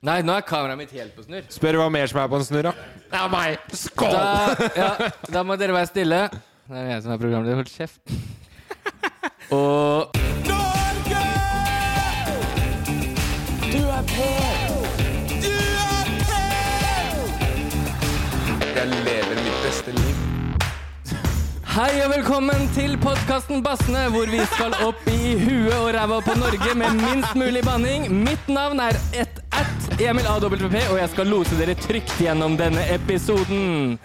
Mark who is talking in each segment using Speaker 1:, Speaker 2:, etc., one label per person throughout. Speaker 1: Nei, nå er kameraet mitt helt på snurr.
Speaker 2: Spør hva mer som er på en snurr, da. Det er meg! Skål!
Speaker 1: Da, ja, da må dere være stille. Det er jeg som er programleder. Hold kjeft. Og
Speaker 3: Norge! Du er på! Du er på! Jeg lever mitt beste liv.
Speaker 1: hei og velkommen til podkasten Bassene, hvor vi skal opp i huet og ræva på Norge med minst mulig banning. Mitt navn er ett at Emil AWP, og jeg skal lose dere trygt gjennom denne episoden.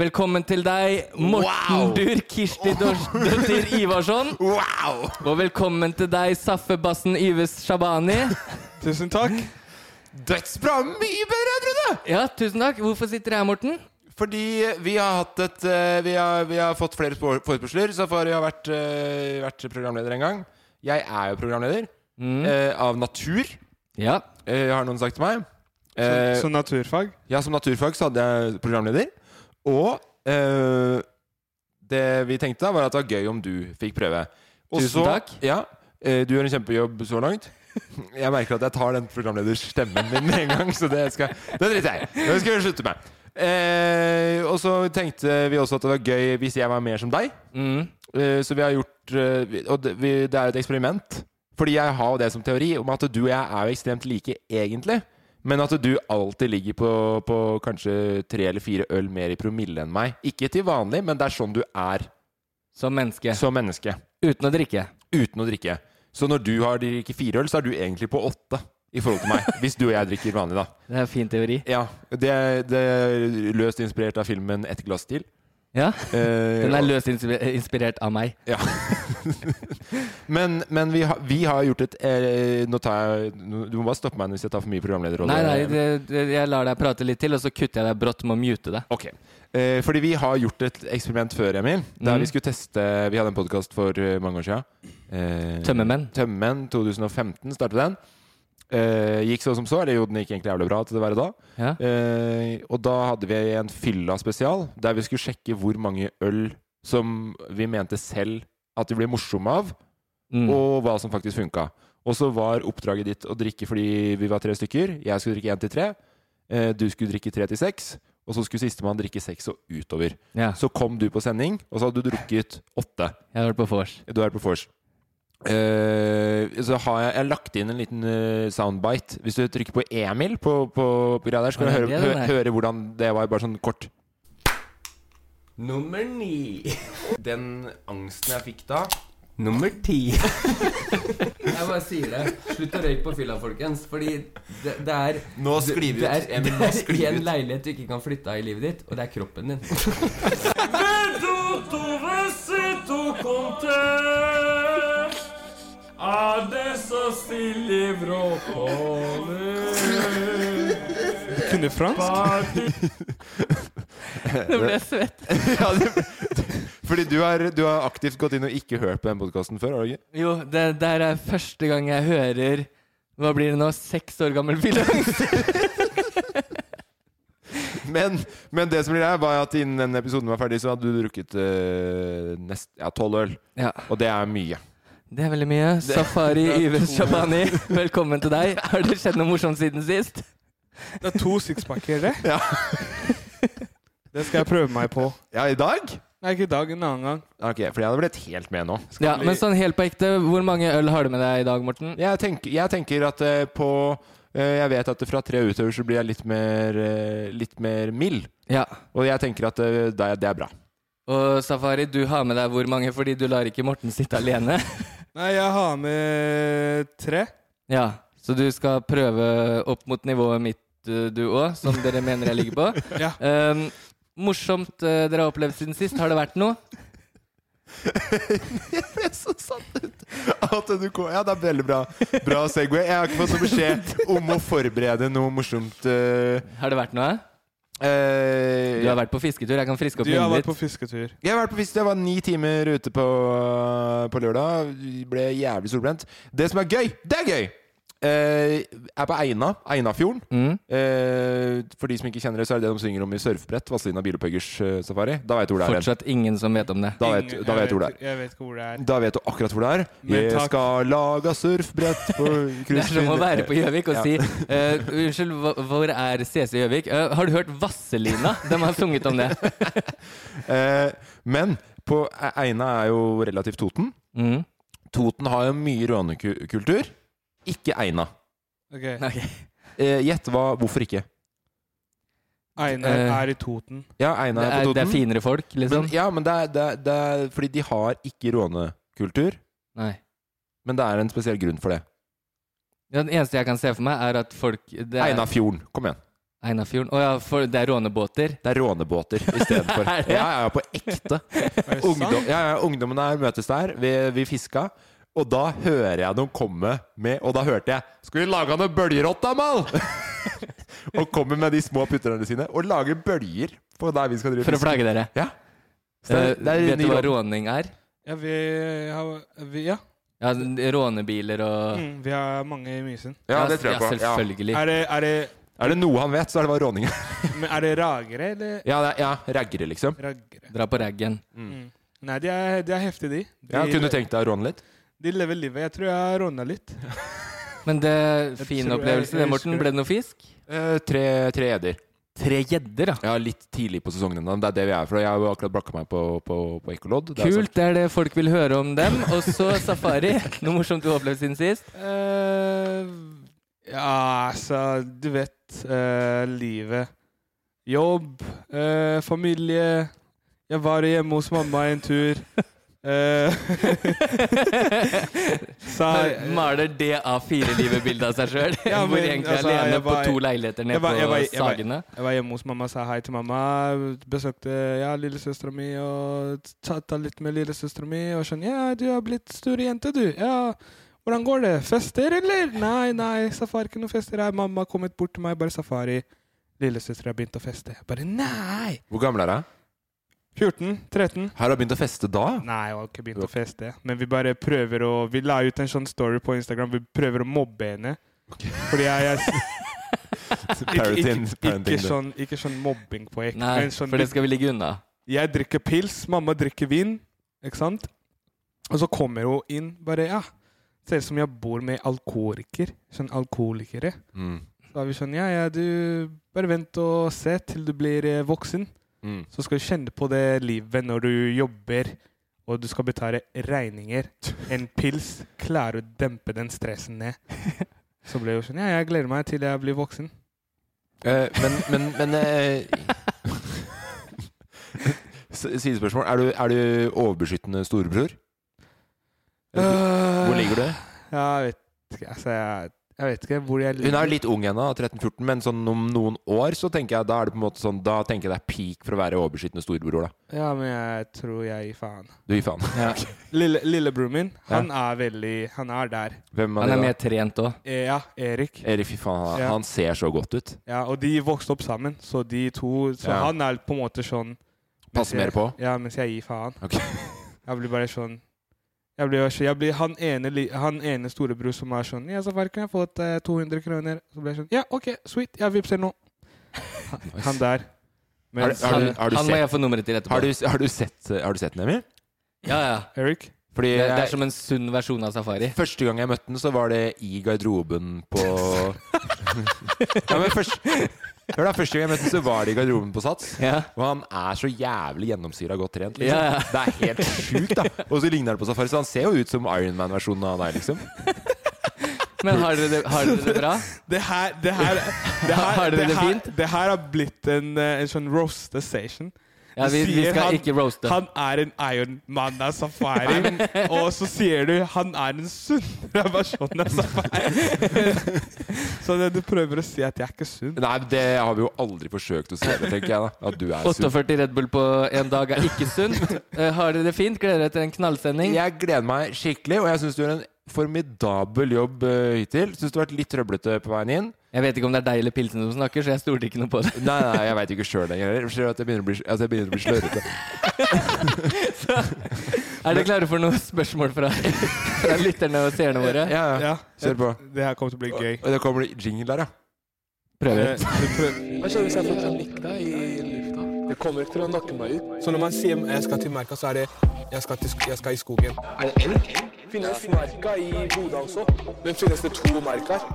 Speaker 1: Velkommen til deg, Morten
Speaker 2: Wow.
Speaker 1: Dur Kirsti Døttir Ivarsson.
Speaker 2: Wow!
Speaker 1: Og velkommen til deg, Saffe Bassen Yves Shabani.
Speaker 4: Tusen takk.
Speaker 2: Dødsbra! Mye bedre, jeg trodde!
Speaker 1: Ja, tusen takk. Hvorfor sitter du her, Morten?
Speaker 2: Fordi vi har hatt et eh, Vi har, vi har fått flere spor- forespørsler. Safari har vært, eh, vært programleder en gang. Jeg er jo programleder.
Speaker 4: Mm.
Speaker 2: eh, av natur,
Speaker 1: Ja.
Speaker 2: eh, har noen sagt til meg.
Speaker 4: Så,
Speaker 2: Eh,
Speaker 4: så naturfag.
Speaker 2: Ja, som naturfag så hadde jeg programleder. Og eh, det vi tenkte da, var at det var gøy om du fikk prøve. Og
Speaker 1: Tusen takk.
Speaker 2: Ja, eh, du gjør en kjempejobb så langt. Jeg merker at jeg tar den programlederstemmen min med en gang, så det, skal, det driter jeg i. Det skal jeg slutte med. Eh, og så tenkte vi også at det var gøy hvis jeg var mer som deg.
Speaker 1: Mm.
Speaker 2: Eh, så vi har gjort eh, vi- Og det, vi, det er et eksperiment. Fordi jeg har jo det som teori om at du og jeg er jo ekstremt like egentlig. Men at du alltid ligger på, på kanskje tre eller fire øl mer i promille enn meg. Ikke til vanlig, men det er sånn du er
Speaker 1: Som menneske.
Speaker 2: som menneske.
Speaker 1: Uten å drikke.
Speaker 2: Uten å drikke. Så når du har drikker fire øl, så er du egentlig på åtte i forhold til meg. hvis du og jeg drikker vanlig, da.
Speaker 1: Det er en fin teori.
Speaker 2: Ja, Det, det er løst inspirert av filmen 'Ett glass til'.
Speaker 1: Ja.
Speaker 2: Eh,
Speaker 1: Den er
Speaker 2: og-
Speaker 1: løst inspi- inspirert av meg.
Speaker 2: Ja. men men vi, har, vi har gjort et eh, Nå tar jeg nå- Du må bare stoppe meg hvis jeg tar for mye programlederrolle.
Speaker 1: Nei, nei, det, det, jeg lar deg prate litt til, og så kutter jeg deg brått med å mute deg.
Speaker 2: Ok. Eh, fordi vi har gjort et eksperiment før, Emil. Der
Speaker 1: Mhm.
Speaker 2: vi skulle teste Vi hadde en podkast for eh, mange år siden. Eh,
Speaker 1: Tømmermenn.
Speaker 2: Tømmermenn 2015 startet den. Eh, gikk så som så. Eller jo, den gikk egentlig jævlig bra til det være da.
Speaker 1: Ja.
Speaker 2: Eh, og da hadde vi en fylla spesial der vi skulle sjekke hvor mange øl som vi mente selv at vi ble morsomme av.
Speaker 1: Mm.
Speaker 2: og hva som faktisk funka. Og så var oppdraget ditt å drikke fordi vi var tre stykker. Jeg skulle drikke én til tre. eh, Du skulle drikke tre til seks. Og så skulle sistemann drikke seks og utover.
Speaker 1: Ja.
Speaker 2: Så kom du på sending, og så hadde du drukket åtte.
Speaker 1: Jeg har vært på vors.
Speaker 2: Du er på vors. Eh, så har jeg, jeg har lagt inn en liten eh, soundbite. Hvis du trykker på Emil på, på, på greia der, så kan du
Speaker 1: Ja,
Speaker 2: høre,
Speaker 1: det er
Speaker 2: hø-
Speaker 1: det der.
Speaker 2: høre hvordan det var, bare sånn kort. Nummer ni. Den angsten jeg fikk da
Speaker 1: Nummer ti. jeg bare sier det. Slutt å røyke på fylla, folkens. Fordi det, det er
Speaker 2: Nå sklir vi
Speaker 1: det
Speaker 2: ut.
Speaker 1: er-
Speaker 2: Emil, nå sklir
Speaker 1: Det
Speaker 2: vi
Speaker 1: er
Speaker 2: ut.
Speaker 1: én leilighet du ikke kan flytte av i livet ditt, og det er kroppen din.
Speaker 4: Kunne fransk?
Speaker 1: Nå ble jeg svett.
Speaker 2: Ja, det, Fordi du har, du har aktivt gått inn og ikke hørt på den podkasten før? har du ikke?
Speaker 1: Jo, det der er første gang jeg hører Hva blir det nå? Seks år gammel filangst?
Speaker 2: Men, men det som blir der, var at innen den episoden var ferdig, så hadde du drukket eh, nest, ja, tolv øl.
Speaker 1: Ja,
Speaker 2: Og det er mye.
Speaker 1: det er veldig mye. Safari Yves Shabani, velkommen til deg. Har det skjedd noe morsomt siden sist?
Speaker 4: Det er to sixpacker, det.
Speaker 2: Ja.
Speaker 4: Det skal jeg prøve meg på.
Speaker 2: Ja, i dag?
Speaker 4: Nei, ikke i dag, en annen gang.
Speaker 2: Ok, For jeg hadde blitt helt med nå.
Speaker 1: Ja, men sånn helt på ekte, hvor mange øl har du med deg i dag, Morten?
Speaker 2: Jeg tenker, jeg tenker at eh, på eh, Jeg vet at fra tre utover så blir jeg litt mer, eh, litt mer mild.
Speaker 1: Ja.
Speaker 2: Og jeg tenker at eh, det, det er bra.
Speaker 1: Og Safari, du har med deg hvor mange fordi du lar ikke Morten sitte alene?
Speaker 4: Nei, jeg har med tre.
Speaker 1: Ja, så du skal prøve opp mot nivået mitt, eh, du òg, som dere mener jeg ligger på.
Speaker 4: Ja.
Speaker 1: Ehm, morsomt eh, dere har opplevd siden sist. Har det vært noe?
Speaker 2: Det så sant ut! At du kom. Ja, det er veldig bra. Bra Segway. Jeg har ikke fått noe beskjed om å forberede noe morsomt. eh,
Speaker 1: Har det vært noe?
Speaker 2: eh,
Speaker 1: Du har vært på fisketur. Jeg kan friske opp
Speaker 4: Du har
Speaker 1: minnet
Speaker 4: vært
Speaker 1: ditt.
Speaker 4: på fisketur.
Speaker 2: Jeg har vært på fisk, jeg var ni timer ute på, på lørdag. Ble jævlig solbrent. Det som er gøy, det er gøy! Eh, er på Eina, Einafjorden.
Speaker 1: Mm.
Speaker 2: Eh, for de som ikke kjenner det, så er det det de synger om i Surfbrett, Vazelina Bilopphøggers eh, safari. Da vet du hvor det er. hen.
Speaker 1: Fortsatt ingen som vet om det.
Speaker 2: Da vet,
Speaker 4: Ingen-
Speaker 2: da
Speaker 4: jeg
Speaker 2: vet du hvor det er.
Speaker 4: Jeg vet ikke hvor det er.
Speaker 2: Da vet du akkurat hvor det er.
Speaker 4: Men
Speaker 2: Jeg
Speaker 4: takk.
Speaker 2: skal laga surfbrett på
Speaker 1: Det er som å være på Gjøvik og
Speaker 2: Ja.
Speaker 1: si eh, Unnskyld, hva- hvor er CC Gjøvik? Eh, har du hørt Vasselina? De har sunget om det.
Speaker 2: Eh, men på E- Eina er jo relativt Toten.
Speaker 1: Mm.
Speaker 2: Toten har jo mye rånekultur. Ikke Eina.
Speaker 4: Ok.
Speaker 1: Ok.
Speaker 2: Eh, Gjett hva, hvorfor ikke?
Speaker 4: Einar
Speaker 1: Eh,
Speaker 4: er i Toten.
Speaker 2: Ja, Eina
Speaker 1: Det
Speaker 2: er,
Speaker 1: er,
Speaker 2: på
Speaker 1: det er
Speaker 2: Toten.
Speaker 1: finere folk, liksom?
Speaker 2: men, ja, men det er, det, er, det er fordi de har ikke rånekultur.
Speaker 1: Nei.
Speaker 2: Men det er en spesiell grunn for det.
Speaker 1: Ja, Den eneste jeg kan se for meg, er at folk det er-
Speaker 2: Einafjorden. Kom igjen.
Speaker 1: Einafjorden. Å ja, for det er rånebåter.
Speaker 2: Det er rånebåter istedenfor.
Speaker 1: Er det?
Speaker 2: Ja, ja, på ekte.
Speaker 4: Er det
Speaker 2: Ungdom,
Speaker 4: sant?
Speaker 2: ja, ja, ungdommene her møtes der. Vi, vi fiska. Og da hører jeg dem komme med Og da hørte jeg 'Skal vi lage noe bøljerott, da, mal?' og kommer med de små putterne sine og lager bølger på der vi skal drive
Speaker 1: For å
Speaker 2: fiske.
Speaker 1: flagge dere.
Speaker 2: Ja. Så det er- det er
Speaker 1: Eh, vet
Speaker 2: ny
Speaker 1: du hva
Speaker 2: rån.
Speaker 1: råning er?
Speaker 4: Ja, vi har vi, Ja.
Speaker 1: Ja, Rånebiler og
Speaker 4: Mm, vi har mange i Mysen.
Speaker 2: Ja, det tror jeg på. Ja.
Speaker 1: selvfølgelig.
Speaker 4: Er det, er det
Speaker 2: Er det noe han vet, så er det bare råning.
Speaker 4: Men er det ragere eller
Speaker 2: ja, det er, ja, raggere, liksom.
Speaker 4: raggere?
Speaker 1: Dra på raggen.
Speaker 4: Mm. Nei, de er, de er heftige, de. De,
Speaker 2: Ja, kunne du tenkt deg å råne litt?
Speaker 4: de lever livet. Jeg tror jeg har råna litt.
Speaker 1: Men det
Speaker 4: Jeg
Speaker 1: fin
Speaker 4: tror jeg-
Speaker 1: opplevelse,
Speaker 4: jeg
Speaker 1: det, Morten.
Speaker 4: husker
Speaker 1: Ble det noe fisk?
Speaker 2: Eh, tre tre edder.
Speaker 1: Tre gjedder, da.
Speaker 2: Ja, litt tidlig på sesongen ennå. Det er det vi er for. Jeg har jo akkurat blakka meg på, på, på ekkolodd. Det er sant.
Speaker 1: Kult, det er det folk vil høre om dem. Og så safari. Noe morsomt du har opplevd siden sist?
Speaker 4: Eh, ja, altså Du vet eh, livet. Jobb, eh, familie Jeg var hjemme hos mamma en tur. Eh, så
Speaker 1: Når Maler det A4-livet-bildet av seg sjøl?
Speaker 4: eh, Ja,
Speaker 1: Hvor
Speaker 4: men,
Speaker 1: egentlig
Speaker 4: altså,
Speaker 1: alene
Speaker 4: jeg var-
Speaker 1: på to leiligheter nede
Speaker 4: jeg var- jeg var-
Speaker 1: på
Speaker 4: jeg var-
Speaker 1: Sagene?
Speaker 4: Jeg var hjemme hos mamma, sa hei til mamma. Besøkte ja, lillesøstera mi og chatta litt med lillesøstera mi. Og sånn Ja, du har blitt stor jente, du. Ja, hvordan går det? Fester, eller? Nei, nei, safari ikke noe fester her. Mamma har kommet bort til meg, bare safari. Lillesøstera har begynt å feste. Jeg Bare nei!
Speaker 2: sånn- Hvor gammel er jeg?
Speaker 4: 14? 13?
Speaker 2: Har hun begynt å feste da?
Speaker 4: Nei, jeg har ikke begynt å feste. Men vi bare prøver å Vi la ut en sånn story på Instagram. Vi prøver å mobbe henne. Fordi jeg, jeg ikke,
Speaker 2: Parenting-
Speaker 4: ikke,
Speaker 2: parenting,
Speaker 4: ikke,
Speaker 2: du.
Speaker 4: sånn, ikke sånn mobbing på ekte.
Speaker 1: Nei,
Speaker 4: men sånn
Speaker 1: for det skal vi ligge unna.
Speaker 4: Jeg drikker pils, mamma drikker vin, ikke sant? Og så kommer hun inn, bare ja. Ser ut som jeg bor med alkoholiker. Sånn alkoholikere.
Speaker 2: Mm.
Speaker 4: Da er vi sånn ja, ja, du bare vent og se til du blir eh, voksen.
Speaker 2: Mm.
Speaker 4: Så skal du kjenne på det livet når du jobber og du skal betale regninger. En pils klarer å dempe den stressen ned. Så ble hun sånn ja, jeg gleder meg til jeg blir voksen.
Speaker 2: Eh, men men, men eh, S- Sidespørsmål. Er du, er du overbeskyttende storebror?
Speaker 4: Eh,
Speaker 2: Eller Hvor hvor ligger du?
Speaker 4: Ja, jeg vet ikke, altså jeg, jeg vet ikke hvor jeg
Speaker 2: Hun er jo litt ung ennå, 13-14, men sånn om noen år så tenker jeg da er det på en måte sånn Da tenker jeg det er peak for å være overbeskyttende storebror, da.
Speaker 4: Ja, men jeg tror jeg gir faen.
Speaker 2: Du gir faen.
Speaker 4: Lille, lillebroren min, han er veldig Han er der.
Speaker 2: Hvem
Speaker 1: Han
Speaker 2: det
Speaker 1: er
Speaker 2: da?
Speaker 1: mer trent òg.
Speaker 4: Eh, Ja, Erik.
Speaker 2: Erik, fy faen, han,
Speaker 4: Ja.
Speaker 2: han ser så godt ut.
Speaker 4: Ja, og de vokste opp sammen, så de to Så
Speaker 2: Ja.
Speaker 4: han er på en måte sånn
Speaker 2: Passe mer
Speaker 4: jeg-
Speaker 2: på?
Speaker 4: Ja, mens jeg gir faen.
Speaker 2: Ok.
Speaker 4: Jeg blir bare sånn Jeg blir, bare så- jeg blir han, ene, li- han ene storebror som er sånn 'Ja, Safari, kan jeg få et, eh, 200 kroner?' Så blir jeg sånn 'Ja, OK, sweet. Jeg vippser nå.' Han, han der.
Speaker 2: Har,
Speaker 4: Mens
Speaker 2: har, du,
Speaker 1: Han-
Speaker 2: har, du
Speaker 1: han må
Speaker 2: sett,
Speaker 1: jeg få nummeret til etterpå.
Speaker 2: har, du, har du sett Har du sett den, Emil?
Speaker 1: Ja, ja.
Speaker 4: Eric
Speaker 2: Fordi
Speaker 1: Det, det
Speaker 2: jeg-
Speaker 1: er som en sunn versjon av safari.
Speaker 2: Første gang jeg møtte den, så var det i garderoben på ja, men først, Hør da, Første gang jeg møtte den, så var det i garderoben på Sats.
Speaker 1: Ja.
Speaker 2: Og han er så jævlig gjennomsyra godt trent. Liksom.
Speaker 1: Ja, ja.
Speaker 2: Det er helt sjukt, da. Og så ligner han på Safari, så han ser jo ut som Ironman-versjonen av deg, liksom.
Speaker 1: Men har dere det, har dere det bra?
Speaker 4: Det her Det her, det her,
Speaker 1: Har dere det
Speaker 4: her,
Speaker 1: fint?
Speaker 4: det her har blitt en, eh, en sånn roaster station.
Speaker 1: Ja, vi, vi
Speaker 4: sier
Speaker 1: skal
Speaker 4: han-
Speaker 1: ikke roaste.
Speaker 4: Han er en Ironman av safari, og så sier du han er en sunnere versjon av safari. så det, du prøver å si at jeg er ikke sunn.
Speaker 2: Nei, det har vi jo aldri forsøkt å se, det, tenker jeg. da At du er sunn.
Speaker 1: 48 Red Bull på en dag er ikke sunt. Eh, Har dere det fint? Gleder dere til en knallsending?
Speaker 2: Jeg gleder meg skikkelig, og jeg syns du gjør en formidabel jobb eh, hittil. Syns du har vært litt trøblete på veien inn.
Speaker 1: Jeg vet ikke om det er deg eller pilsen som snakker, så jeg stolte ikke noe på det.
Speaker 2: Nei, nei, jeg veit ikke sjøl lenger heller. Ser du at jeg begynner å bli, at jeg begynner å bli slørrete.
Speaker 1: Er dere klare for noen spørsmål fra, fra lytterne og seerne våre?
Speaker 2: Ja, ja.
Speaker 4: Ja,
Speaker 2: Kjør på.
Speaker 4: Det her kommer til å bli gøy.
Speaker 2: Og da kommer det jingle der, ja.
Speaker 1: Prøver.
Speaker 4: Eh, du prøver-
Speaker 5: Hva skjer hvis jeg får panikk da i lufta? Det kommer ikke til å nakke meg ut. Så når man sier jeg skal til merka, så er det jeg skal, til, sk- jeg skal i skogen. Er det elg? Finnes merka i Bodø også? Men finnes det to merker?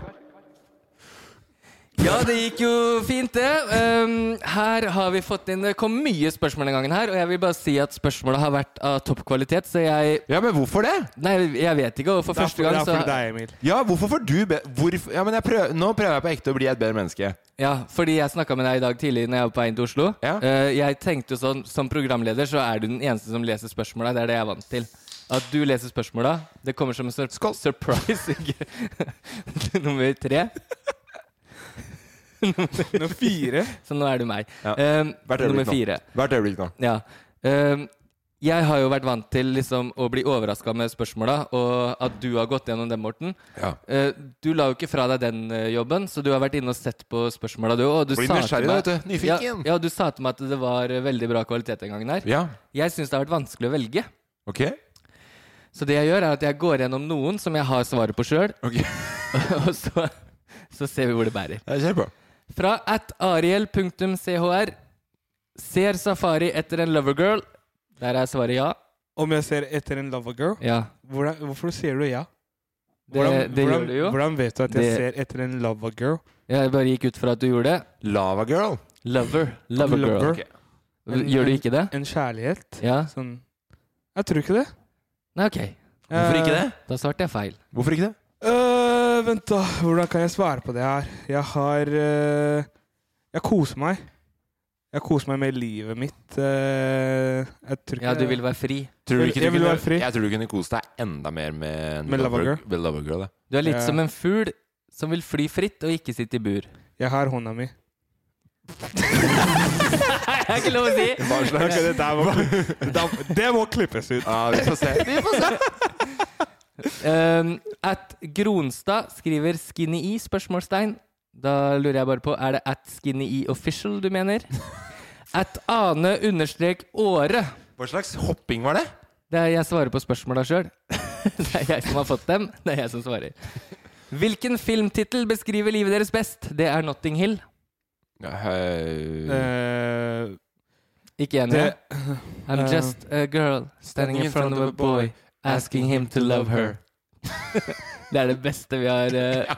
Speaker 1: Ja, det gikk jo fint, det. Um, her har vi fått inn Det kom mye spørsmål den gangen her, og jeg vil bare si at spørsmålet har vært av topp kvalitet, så jeg
Speaker 2: Ja, men hvorfor det?
Speaker 1: Nei, jeg vet ikke, og for
Speaker 4: det er for-
Speaker 1: første gang
Speaker 4: Det er
Speaker 1: så
Speaker 4: for deg, Emil.
Speaker 2: Ja, hvorfor får du be... Hvorfor? Ja, men jeg prøver... Nå prøver jeg på ekte å bli et bedre menneske.
Speaker 1: Ja, fordi jeg snakka med deg i dag tidlig når jeg var på vei til Oslo.
Speaker 2: Ja.
Speaker 1: Eh, jeg tenkte jo sånn, Som programleder så er du den eneste som leser spørsmåla. Det er det jeg er vant til. At du leser spørsmåla. Det kommer som en sur surprise. ikke? Nummer tre.
Speaker 4: Nummer fire.
Speaker 1: Så nå er du meg.
Speaker 2: Ja.
Speaker 1: Eh,
Speaker 2: Hvert øyeblikk
Speaker 1: nummer
Speaker 2: nå.
Speaker 1: fire.
Speaker 2: Hvert øyeblikk nå.
Speaker 1: Ja. Eh, jeg har jo vært vant til liksom, å bli overraska med spørsmåla, og at du har gått gjennom dem, Morten.
Speaker 2: Ja.
Speaker 1: Eh, du la jo ikke fra deg den eh, jobben, så du har vært inne og sett på spørsmåla, du. Og du
Speaker 2: Blir
Speaker 1: sa til
Speaker 2: nysgjerrig,
Speaker 1: meg-
Speaker 2: vet du.
Speaker 1: Ja,
Speaker 2: Nyfiken.
Speaker 1: ja, du sa til meg at det var eh, veldig bra kvalitet den gangen her.
Speaker 2: Ja.
Speaker 1: Jeg syns det har vært vanskelig å velge.
Speaker 2: Ok.
Speaker 1: Så det jeg gjør, er at jeg går gjennom noen som jeg har svaret på sjøl,
Speaker 2: Ok.
Speaker 1: og så, så ser vi hvor det bærer.
Speaker 2: Jeg kjører på.
Speaker 1: Fra at ariel.chr ser Safari etter en lovergirl. Der er svaret ja.
Speaker 4: Om jeg ser etter en lover girl,
Speaker 1: Ja.
Speaker 4: hvordan, hvorfor sier du ja?
Speaker 1: Det, det
Speaker 4: hvordan,
Speaker 1: gjør du jo.
Speaker 4: hvordan vet du at jeg
Speaker 1: Det-
Speaker 4: ser etter en lover girl?
Speaker 1: Jeg bare gikk ut fra at du gjorde det.
Speaker 2: Lava girl.
Speaker 1: Lover. Lovergirl.
Speaker 4: Lover.
Speaker 2: Ok.
Speaker 1: Gjør du ikke det?
Speaker 4: En kjærlighet?
Speaker 1: Ja?
Speaker 4: Sånn Jeg tror ikke det.
Speaker 1: Nei, ok.
Speaker 2: Hvorfor ikke det?
Speaker 1: Da svarte jeg feil.
Speaker 2: Hvorfor ikke det?
Speaker 4: Øh, vent, da. Hvordan kan jeg svare på det her? Jeg har øh, Jeg koser meg. Jeg koser meg med livet mitt. Øh, jeg tror ikke
Speaker 1: Ja, du vil være fri.
Speaker 2: Tror
Speaker 4: Jeg- jeg vil
Speaker 2: kunne-
Speaker 4: være fri.
Speaker 2: Jeg tror du kunne kose deg enda mer med, en
Speaker 4: Med Lava Girl.
Speaker 2: Med Lava girl da.
Speaker 1: Du er litt
Speaker 4: Ja.
Speaker 1: som en fugl som vil fly fritt og ikke sitte i bur.
Speaker 4: Jeg har hånda mi.
Speaker 1: Nei, det er ikke lov å si!
Speaker 2: Hva slags
Speaker 4: det, må klippes ut.
Speaker 2: Ja, vi får se. Vi får se.
Speaker 1: Um, at Gronstad skriver 'skinny i?' spørsmålstegn. Da lurer jeg bare på, er det at skinny i official du mener? At Ane understrek Åre.
Speaker 2: Hva slags hopping var det?
Speaker 1: Det er jeg svarer på spørsmåla sjøl. Det er jeg som har fått dem. Det er jeg som svarer. Hvilken filmtittel beskriver livet deres best? Det er Notting Hill.
Speaker 2: Ja, høy...
Speaker 4: Øh,
Speaker 1: Ikke enig?
Speaker 4: det,
Speaker 1: I'm just a girl eh, standing in front of a boy asking him to love her. Det er det beste vi har eh,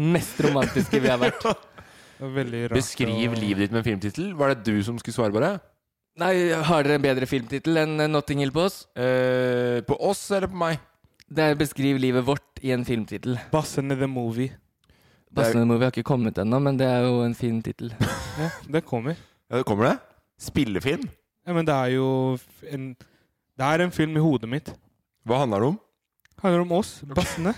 Speaker 1: Mest romantiske vi har vært.
Speaker 4: det var veldig rart.
Speaker 2: Beskriv
Speaker 4: å-
Speaker 2: livet ditt med en filmtittel. Var det du som skulle svare på det?
Speaker 1: Nei, Har dere en bedre filmtittel enn eh, Notting Hill på oss?
Speaker 2: Eh, på oss eller på meg?
Speaker 1: Det er Beskriv livet vårt i en filmtittel.
Speaker 4: Bassen i the movie.
Speaker 1: Bassene Movie har ikke kommet ennå, men det er jo en fin tittel.
Speaker 4: Ja, det kommer.
Speaker 2: Ja, det kommer det. Spillefilm?
Speaker 4: Ja, men det er jo f- en Det er en film i hodet mitt.
Speaker 2: Hva handler det om?
Speaker 4: Handler om oss, bassene.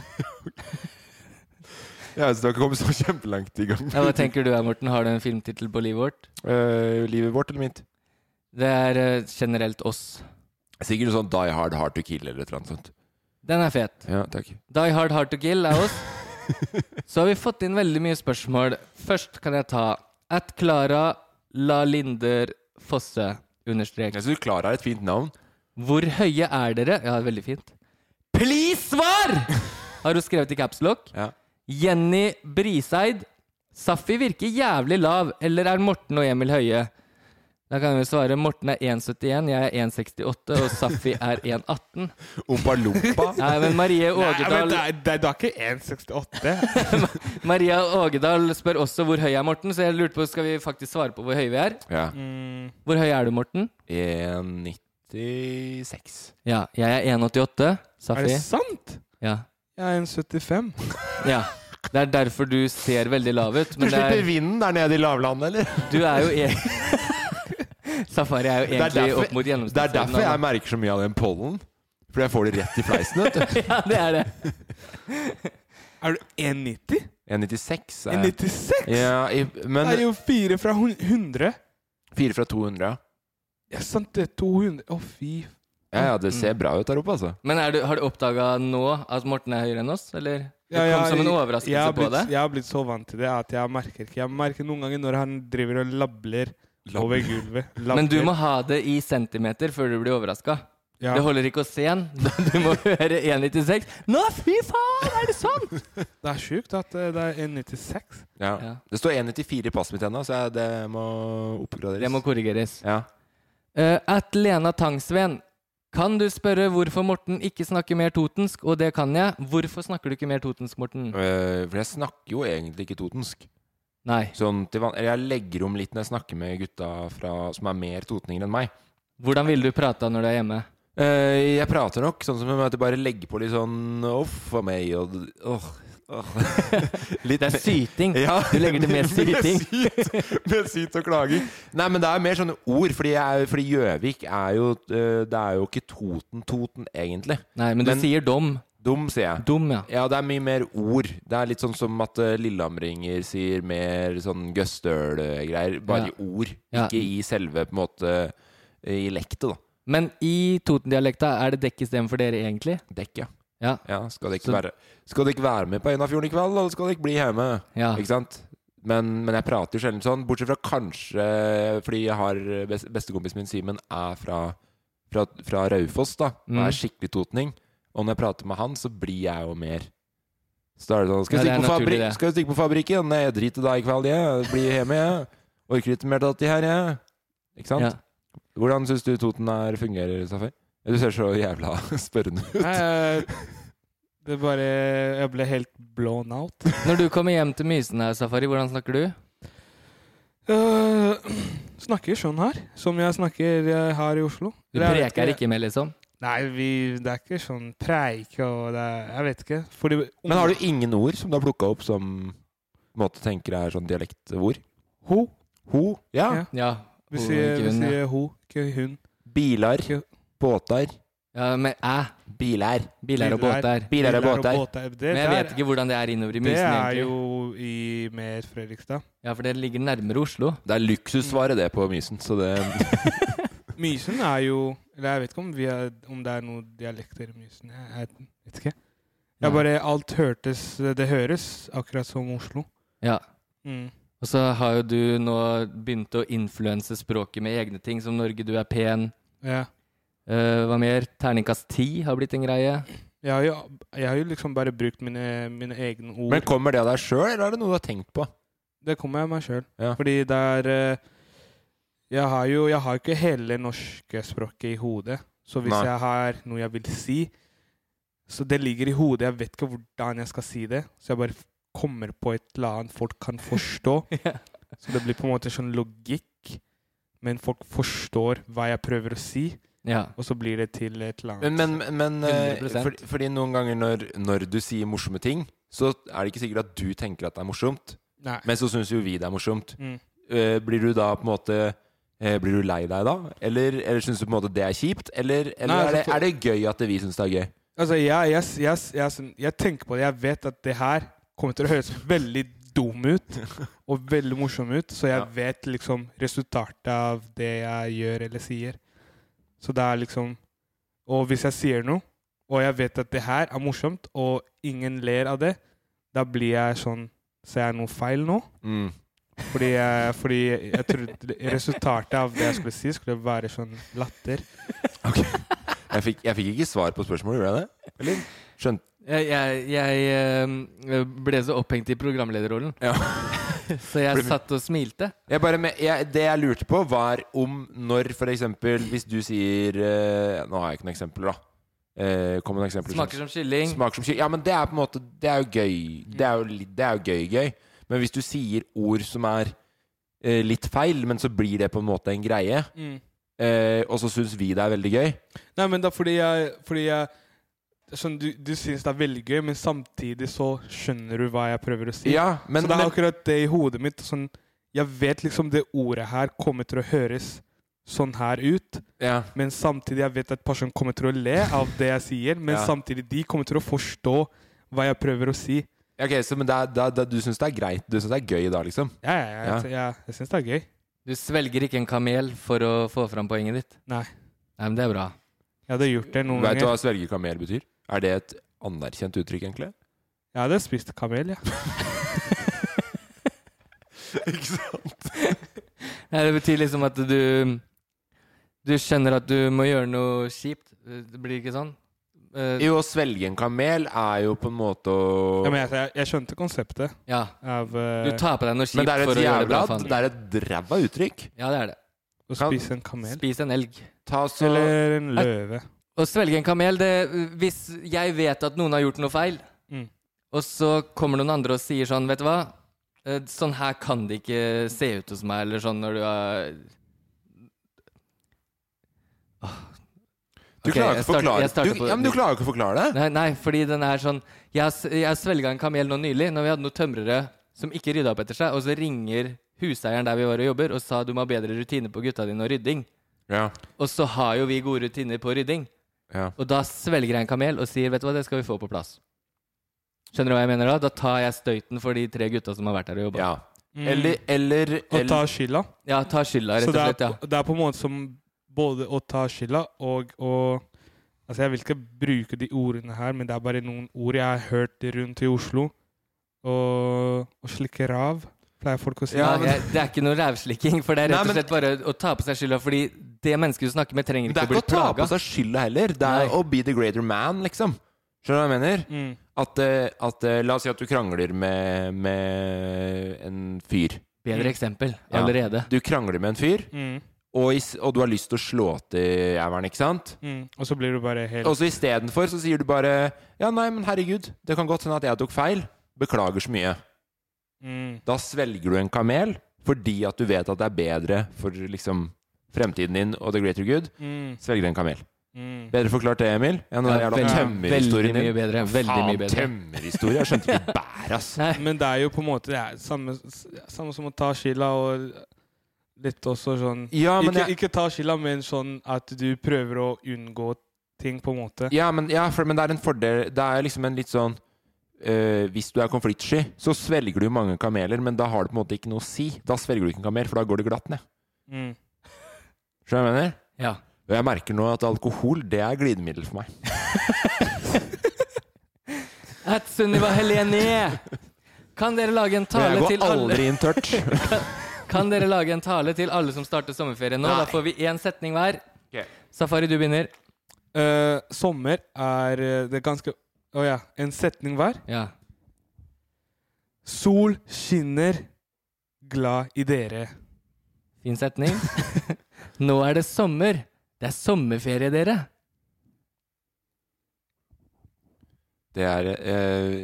Speaker 2: Jeg vet, ikke, du har ikke kommet så kjempelangt i gang.
Speaker 1: Ja, hva tenker du, Morten? Har du en filmtittel på livet vårt?
Speaker 2: Eh, livet vårt eller mitt?
Speaker 1: Det er eh, generelt oss.
Speaker 2: Sikkert noe sånn Die Hard Hard to Kill eller et eller annet sånt.
Speaker 1: Den er fet.
Speaker 2: Ja, takk.
Speaker 1: Die Hard Hard to Kill er oss. Så har vi fått inn veldig mye spørsmål. Først kan jeg ta At Klara La Linder Fosse understrek.
Speaker 2: Jeg synes du klarer et fint navn.
Speaker 1: Hvor høye er dere? Ja, veldig fint. Please svar! Har hun skrevet i caps lock.
Speaker 2: Ja.
Speaker 1: Jenny Briseid. Safi virker jævlig lav, eller er Morten og Emil høye? Da kan vi svare Morten er 1,71, jeg er 1,68, og Safi er 1,18.
Speaker 2: Ompa Lompa.
Speaker 1: Nei, men Marie
Speaker 4: Nei, men
Speaker 1: Ågedal,
Speaker 4: det er- det er da ikke 1,68.
Speaker 1: Maria Ågedal spør også hvor høy er Morten, så jeg lurte på skal vi faktisk svare på hvor høye vi er.
Speaker 2: Ja.
Speaker 1: Hvor høy er du, Morten?
Speaker 2: 1,96.
Speaker 1: Ja, jeg er 1,88.
Speaker 4: Er
Speaker 1: Safi?
Speaker 4: det sant?
Speaker 1: Ja.
Speaker 4: Jeg er 1,75.
Speaker 1: ja. Det er derfor du ser veldig lav ut.
Speaker 2: Du
Speaker 1: Men det er,
Speaker 2: slipper vinden der nede i lavlandet, eller?
Speaker 1: Du er jo e Safari er
Speaker 2: er
Speaker 1: jo egentlig
Speaker 2: derfor-
Speaker 1: opp mot
Speaker 2: Det er derfor jeg merker så mye av den pollen. Fordi jeg får det rett i fleisen. vet du.
Speaker 1: Ja, det er det.
Speaker 4: Er du 1,90?
Speaker 2: 1,96 er jeg.
Speaker 4: 1,96?
Speaker 2: Ja, i, men
Speaker 4: Det er jo fire fra hun- 100.
Speaker 2: fire fra 200, ja.
Speaker 4: Ja, sant det. 200. Å, fy.
Speaker 2: Ja, ja, det ser bra ut der oppe, altså.
Speaker 1: Men er du, har du oppdaga nå at Morten er høyere enn oss, eller? Det
Speaker 4: Ja,
Speaker 1: kom
Speaker 4: jeg-
Speaker 1: som en overraskelse
Speaker 4: jeg har
Speaker 1: på
Speaker 4: blitt,
Speaker 1: deg?
Speaker 4: Jeg har blitt så vant til det at jeg merker ikke. Jeg merker noen ganger når han driver og labler, over gulvet. Labler.
Speaker 1: Men du må ha det i centimeter før du blir overraska.
Speaker 4: ja.
Speaker 1: Det holder ikke å se den. Du må høre 1,96. Nå, fy faen, er det sånn?!
Speaker 4: Det er sjukt at eh, det er 1,96.
Speaker 2: Ja.
Speaker 1: Ja.
Speaker 2: Det står 1,94 i passet mitt ennå, så jeg, det må oppgraderes.
Speaker 1: Det må korrigeres.
Speaker 2: ja.
Speaker 1: Eh, at Lena Tangsven. Kan du spørre hvorfor Morten ikke snakker mer totensk? Og det kan jeg. Hvorfor snakker du ikke mer totensk, Morten?
Speaker 2: Eh, For jeg snakker jo egentlig ikke totensk.
Speaker 1: Nei.
Speaker 2: Sånn til van Eller jeg legger om litt når jeg snakker med gutta fra, som er mer totninger enn meg.
Speaker 1: Hvordan ville du prata når du er hjemme?
Speaker 2: Eh, jeg prater nok sånn som at jeg bare legger på litt sånn Uff a meg og åh, åh». Litt
Speaker 1: Det er syting.
Speaker 2: Ja.
Speaker 1: Du legger til mer syting.
Speaker 2: syt- Med syt og klaging. Nei, men det er mer sånne ord, fordi, jeg, fordi Gjøvik er jo eh, Det er jo ikke Toten-Toten, egentlig.
Speaker 1: Nei, men du
Speaker 2: Men-
Speaker 1: sier dom.
Speaker 2: Dum, sier jeg.
Speaker 1: Dom, ja.
Speaker 2: Ja, det er mye mer ord. Det er litt sånn som at eh, lillehamringer sier mer sånn gøstøl-greier. Bare
Speaker 1: Ja.
Speaker 2: i ord,
Speaker 1: Ja.
Speaker 2: ikke i selve på en måte eh, i lektet, da.
Speaker 1: Men i Toten-dialekta er det dekk istedenfor dere, egentlig?
Speaker 2: Dekk, ja.
Speaker 1: Ja.
Speaker 2: skal det ikke
Speaker 1: Så-
Speaker 2: være Skal det ikke være med på Einafjorden i kveld, eller skal det ikke bli hjemme?
Speaker 1: Ja.
Speaker 2: Ikke sant? Men, men jeg prater jo sjelden sånn, bortsett fra kanskje fordi jeg har best, bestekompisen min Simen er fra, fra, fra Raufoss, da. Og
Speaker 1: Mm.
Speaker 2: er skikkelig totning. Og når jeg prater med han, så blir jeg jo mer Så er det sånn Skal
Speaker 1: Ja,
Speaker 2: vi stikke,
Speaker 1: det er
Speaker 2: på,
Speaker 1: naturlig,
Speaker 2: fabri
Speaker 1: det.
Speaker 2: skal vi stikke på fabrikken? Nei, jeg driter deg i kveld, jeg. Blir hjemme, jeg. Orker ikke mer til dette her, jeg. Ikke sant?
Speaker 1: Ja.
Speaker 2: Hvordan syns du Toten er fungerer, Safar? Du ser så jævla spørrende ut.
Speaker 4: Nei, eh, det er bare Jeg ble helt blown out.
Speaker 1: Når du kommer hjem til Mysen her, Safari, hvordan snakker du?
Speaker 4: Eh, snakker sånn her, som jeg snakker eh, her i Oslo.
Speaker 1: Du
Speaker 4: Eller jeg vet
Speaker 1: preker ikke med, liksom?
Speaker 4: Nei, vi, det er ikke sånn preik og det er, Jeg vet ikke. Fordi,
Speaker 2: Men har du ingen ord som du har plukka opp som på en måte tenker er sånn dialektord?
Speaker 4: Ho.
Speaker 2: Ho. Ja.
Speaker 4: Ja.
Speaker 1: Ja.
Speaker 4: Vi
Speaker 1: Ho,
Speaker 4: sier,
Speaker 1: ikke
Speaker 4: vi
Speaker 1: hun, ja.
Speaker 4: sier ho, ikke hun.
Speaker 2: Bilar.
Speaker 4: Ikke-
Speaker 2: Båtar.
Speaker 1: ja, med æ.
Speaker 2: Biler.
Speaker 1: Biler og båter.
Speaker 2: Biler og båter.
Speaker 4: båter. Det,
Speaker 1: Men jeg vet
Speaker 4: der-
Speaker 1: ikke hvordan det er innover i
Speaker 4: det
Speaker 1: Mysen,
Speaker 4: er
Speaker 1: egentlig.
Speaker 4: jo i, med Fredrikstad.
Speaker 1: Ja, for det ligger nærmere Oslo.
Speaker 2: Det er luksussvaret, det, på Mysen. Så det
Speaker 4: Mysen er jo Eller jeg vet ikke om, vi er, om det er noen dialekter i Mysen. Jeg, jeg vet ikke.
Speaker 1: Ja.
Speaker 4: Jeg bare Alt hørtes Det høres akkurat som Oslo.
Speaker 1: Ja.
Speaker 4: Mm.
Speaker 1: Og så har jo du nå begynt å influense språket med egne ting, som Norge, du er pen.
Speaker 4: Ja.
Speaker 1: Eh, hva mer? Terningkast ti har blitt en greie.
Speaker 4: Jeg har, jo, jeg har jo liksom bare brukt mine, mine egne ord.
Speaker 2: Men kommer det av deg sjøl, eller er det noe du har tenkt på?
Speaker 4: det kommer jeg meg sjøl.
Speaker 2: Ja.
Speaker 4: Fordi det er eh, Jeg har jo jeg har ikke hele norske språket i hodet. Så hvis
Speaker 2: Nei.
Speaker 4: jeg har noe jeg vil si Så det ligger i hodet. Jeg vet ikke hvordan jeg skal si det. Så jeg bare f- kommer på et eller annet folk kan forstå.
Speaker 1: Ja.
Speaker 4: Så det blir på en måte sånn logikk. Men folk forstår hva jeg prøver å si,
Speaker 1: ja.
Speaker 4: og så blir det til et eller
Speaker 2: Men,
Speaker 4: annet.
Speaker 2: men, men eh,
Speaker 1: 100%.
Speaker 2: fordi- fordi noen ganger når, når du sier morsomme ting, så er det ikke sikkert at du tenker at det er morsomt.
Speaker 4: Nei.
Speaker 2: Men så syns jo vi det er morsomt.
Speaker 4: Mm.
Speaker 2: Eh, Blir du da på en måte eh, Blir du lei deg da? Eller, eller syns du på en måte det er kjipt? Eller, eller
Speaker 4: Nei, altså,
Speaker 2: er, det,
Speaker 4: for-
Speaker 2: er det gøy at det vi syns det er gøy?
Speaker 4: Altså, jeg, jeg, jeg, jeg, sånn- jeg tenker på det. Jeg vet at det her kommer til å høres veldig dum ut og veldig morsom ut, så jeg
Speaker 2: Ja.
Speaker 4: vet liksom resultatet av det jeg gjør eller sier. Så det er liksom Og hvis jeg sier noe, og jeg vet at det her er morsomt, og ingen ler av det, da blir jeg sånn Ser jeg noe feil nå?
Speaker 2: Mm.
Speaker 4: Fordi, jeg- fordi jeg trodde resultatet av det jeg skulle si, skulle være sånn latter.
Speaker 2: Jeg fikk, jeg fikk ikke svar på spørsmålet, gjorde jeg det? Eller? Skjønt.
Speaker 1: Jeg, jeg, jeg eh, ble så opphengt i programlederrollen,
Speaker 2: Ja.
Speaker 1: så jeg satt og smilte.
Speaker 2: Jeg bare, men jeg, det jeg lurte på, var om når f.eks. hvis du sier eh, Nå har jeg ikke noen eksempler, da. Eh, kom med noen eksempler.
Speaker 1: Smaker som kylling.
Speaker 2: Smaker som kylling. Ja, men det er på en måte Det er jo gøy. Det er jo, litt- det er jo gøy-gøy. Men hvis du sier ord som er eh, litt feil, men så blir det på en måte en greie, eh, og så syns vi det er veldig gøy
Speaker 4: Mm. Nei, men da fordi jeg, fordi jeg Sånn, du, du syns det er veldig gøy, men samtidig så skjønner du hva jeg prøver å si.
Speaker 2: Ja, men,
Speaker 4: så det er
Speaker 2: men,
Speaker 4: akkurat det i hodet mitt. Sånn, jeg vet liksom det ordet her kommer til å høres sånn her ut,
Speaker 2: ja.
Speaker 4: men samtidig jeg vet at personen kommer til å le av det jeg sier, men
Speaker 2: Ja.
Speaker 4: samtidig de kommer til å forstå hva jeg prøver å si.
Speaker 2: Ok, så, men det er, det er, det er, du syns det er greit? Du syns det er gøy da, liksom?
Speaker 4: Ja, ja, ja, jeg, jeg, jeg syns det er gøy.
Speaker 1: Du svelger ikke en kamel for å få fram poenget ditt.
Speaker 4: Nei.
Speaker 1: Nei, men det er bra.
Speaker 4: Jeg hadde gjort det noen
Speaker 2: Veit du
Speaker 4: ganger.
Speaker 2: hva svelge kamel betyr? Er det et anerkjent uttrykk, egentlig?
Speaker 4: Jeg hadde spist kamel, ja.
Speaker 2: Ikke sant?
Speaker 1: Nei, det betyr liksom at du Du skjønner at du må gjøre noe kjipt. Det blir ikke sånn? Eh,
Speaker 2: Jo, å svelge en kamel er jo på en måte å
Speaker 4: ja men jeg, jeg, jeg skjønte konseptet
Speaker 1: Ja.
Speaker 4: av
Speaker 1: Du
Speaker 4: eh,
Speaker 1: tar på deg noe
Speaker 2: Men
Speaker 1: kjipt
Speaker 2: det er
Speaker 1: for
Speaker 2: et
Speaker 1: å gjøre det bra
Speaker 2: jævla
Speaker 1: for
Speaker 2: Det
Speaker 1: andre.
Speaker 2: er et ræva uttrykk.
Speaker 1: Ja, det er det.
Speaker 4: eh, å spise en kamel.
Speaker 1: Spis en elg.
Speaker 2: Ta så
Speaker 4: Eller en løve.
Speaker 1: Å svelge en kamel det, Hvis jeg vet at noen har gjort noe feil,
Speaker 4: Mm.
Speaker 1: og så kommer noen andre og sier sånn, vet du hva Eh, Sånn her kan det ikke se ut hos meg, eller sånn når du er
Speaker 2: Du
Speaker 1: Ok,
Speaker 2: klarer
Speaker 1: jeg
Speaker 2: ikke å
Speaker 1: starter-
Speaker 2: forklare
Speaker 1: jeg starter
Speaker 2: du,
Speaker 1: på-
Speaker 2: ja, men du klarer ikke å forklare det?
Speaker 1: Nei, nei, fordi den er sånn Jeg, s- jeg svelga en kamel nå nylig, når vi hadde noen tømrere som ikke rydda opp etter seg, og så ringer huseieren der vi var og jobber, og sa du må ha bedre rutiner på gutta dine og rydding.
Speaker 2: Ja.
Speaker 1: Og så har jo vi gode rutiner på rydding.
Speaker 2: Ja.
Speaker 1: Og da svelger jeg en kamel og sier vet du hva, det skal vi få på plass. Skjønner du hva jeg mener da? Da tar jeg støyten for de tre gutta som har vært her og jobba.
Speaker 2: ja.
Speaker 1: Mm.
Speaker 4: Mm.
Speaker 2: Eller, eller,
Speaker 4: Å ta
Speaker 2: eller
Speaker 4: skylda.
Speaker 1: Ja. ta skylda,
Speaker 4: Så
Speaker 1: rett og
Speaker 4: det
Speaker 1: slett.
Speaker 4: er,
Speaker 1: ja.
Speaker 4: det er på en måte som både å ta skylda og å Altså, jeg vil ikke bruke de ordene her, men det er bare noen ord jeg har hørt rundt i Oslo. Og, og slikke rav, pleier folk å si. Mm,
Speaker 1: Nei, jeg, det er ikke noe rævslikking, for det
Speaker 2: Nei,
Speaker 1: er rett og
Speaker 2: men-
Speaker 1: slett bare å ta på seg skylda, fordi det mennesket du snakker med,
Speaker 2: Det
Speaker 1: trenger ikke
Speaker 2: er
Speaker 1: å
Speaker 2: ikke
Speaker 1: bli
Speaker 2: å ta på
Speaker 1: plaga.
Speaker 2: seg skylda heller. Det er
Speaker 1: Nei.
Speaker 2: å be the greater man, liksom. Skjønner du hva jeg mener?
Speaker 4: Mm.
Speaker 2: At, eh, at eh, La oss si at du krangler med, med en fyr.
Speaker 1: Bedre eksempel
Speaker 2: Ja.
Speaker 1: allerede.
Speaker 2: Du krangler med en fyr,
Speaker 4: Mm.
Speaker 2: og, i, s- og du har lyst til å slå til jævelen, ikke sant?
Speaker 4: Mm. Og så blir du bare helt
Speaker 2: Og så istedenfor så sier du bare Ja, nei, men herregud, det kan godt hende at jeg tok feil. Beklager så mye.
Speaker 4: mm.
Speaker 2: Da svelger du en kamel fordi at du vet at det er bedre for liksom fremtiden din og the greater good.
Speaker 4: Mm.
Speaker 2: Svelger en kamel.
Speaker 4: Mm.
Speaker 2: Bedre forklart det, Emil, enn den
Speaker 1: Ja,
Speaker 2: jævla
Speaker 1: veldig, veldig
Speaker 2: tømmerhistorien
Speaker 1: mye
Speaker 2: din.
Speaker 1: bedre. Veldig mye
Speaker 2: Faen,
Speaker 1: bedre.
Speaker 2: tømmerhistorie! Jeg skjønte ikke altså. bæret, ass.
Speaker 1: Nei.
Speaker 4: Men det er jo på en måte det er samme, samme som å ta skylda og litt også sånn
Speaker 2: Ja, men
Speaker 4: ikke,
Speaker 2: jeg
Speaker 4: ikke ta skylda, men sånn at du prøver å unngå ting, på en måte.
Speaker 2: ja, men, ja, for, men det er en fordel Det er liksom en litt sånn øh, Hvis du er konfliktsky, så svelger du mange kameler, men da har det på en måte ikke noe å si. Da svelger du ikke en kamel, for da går det glatt ned.
Speaker 4: Mm.
Speaker 2: Skjønner du hva jeg mener?
Speaker 1: Ja.
Speaker 2: Og jeg merker nå at alkohol, det er glidemiddel for meg.
Speaker 1: At Sunniva Helene! Kan dere lage en
Speaker 2: Og
Speaker 1: tale
Speaker 2: jeg
Speaker 1: til
Speaker 2: går
Speaker 1: alle
Speaker 2: aldri inn tørt.
Speaker 1: Kan dere lage en tale til alle som starter sommerferie nå? Da får vi én setning hver.
Speaker 2: Ok.
Speaker 1: Safari, du begynner.
Speaker 4: Eh, sommer er eh, det er ganske Å ja, en setning hver.
Speaker 1: Ja.
Speaker 4: Sol skinner, glad i dere.
Speaker 1: Fin setning. nå er det sommer. Det er sommerferie, dere.
Speaker 2: Det er øh,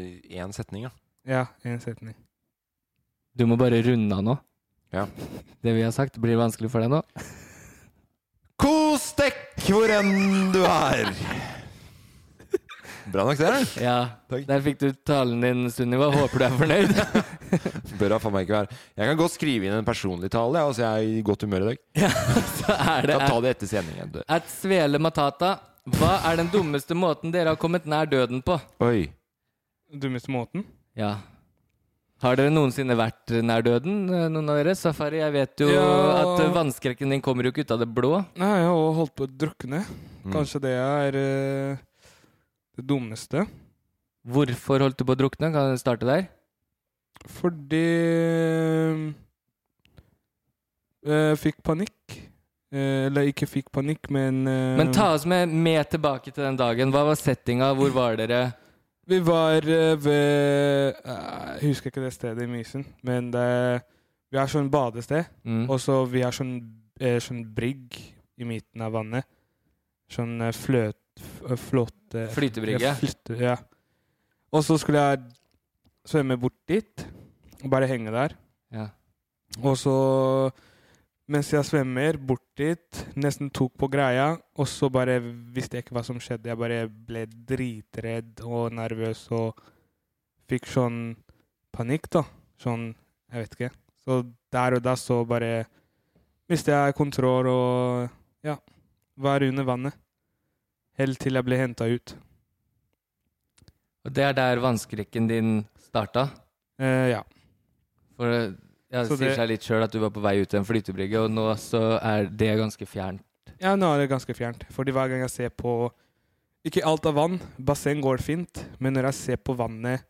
Speaker 2: én setning, ja.
Speaker 4: Ja, en setning.
Speaker 1: Du må bare runde av nå.
Speaker 2: Ja.
Speaker 1: Det vi har sagt, blir vanskelig for deg nå.
Speaker 2: Kos dekk hvor enn du er! Bra nok, det. eller?
Speaker 1: Ja.
Speaker 2: Takk.
Speaker 1: Der fikk du talen din, Sunniva. Håper du er fornøyd.
Speaker 2: Bør da faen meg ikke være Jeg kan godt skrive inn en personlig tale. Jeg, altså, jeg er i godt humør i dag.
Speaker 1: ja, så er det
Speaker 2: Kan ta det etter sendingen. du.
Speaker 1: At Svele Matata. Hva er den dummeste måten dere har kommet nær døden på?
Speaker 2: Oi.
Speaker 4: Dummeste måten?
Speaker 1: Ja. Har dere noensinne vært nær døden, eh, noen av dere? Safari, jeg vet jo
Speaker 4: Ja.
Speaker 1: at eh, vannskrekken din kommer jo ikke ut av det blå.
Speaker 4: Nei, jeg har holdt på å drukne.
Speaker 2: Mm.
Speaker 4: Kanskje det er eh, det dummeste.
Speaker 1: Hvorfor holdt du på å drukne? Kan jeg starte der?
Speaker 4: Fordi Eh, fikk panikk. Eh, eller ikke fikk panikk, men, eh,
Speaker 1: Men ta oss med, med tilbake til den dagen. Hva var settinga? Hvor var dere?
Speaker 4: Vi var eh, ved eh, Jeg husker ikke det stedet i Mysen, men det, vi har sånn badested.
Speaker 1: Mm.
Speaker 4: Og så vi har sånn, eh, sånn brygg i midten av vannet. Sånn eh, fløt... f- eh, Flåte...
Speaker 1: Flytebrygge.
Speaker 4: Ja, flyte, ja. Og så skulle jeg svømme bort dit og bare henge der.
Speaker 1: Ja.
Speaker 4: Og så, mens jeg svømmer bort dit, nesten tok på greia, og så bare visste jeg ikke hva som skjedde. Jeg bare ble dritredd og nervøs og fikk sånn panikk, da. Sånn, jeg vet ikke. Så der og da så bare mistet jeg kontroll og ja, var under vannet. Helt til jeg ble henta ut.
Speaker 1: Og det er der vannskrekken din starta.
Speaker 4: Eh, ja.
Speaker 1: For eh, ja, det
Speaker 4: Så
Speaker 1: sier
Speaker 4: det-
Speaker 1: seg litt sjøl at du var på vei ut til en flytebrygge, og nå så er det ganske fjernt.
Speaker 4: Ja, nå er det ganske fjernt. Fordi hver gang jeg ser på Ikke alt av vann. Basseng går fint. Men når jeg ser på vannet,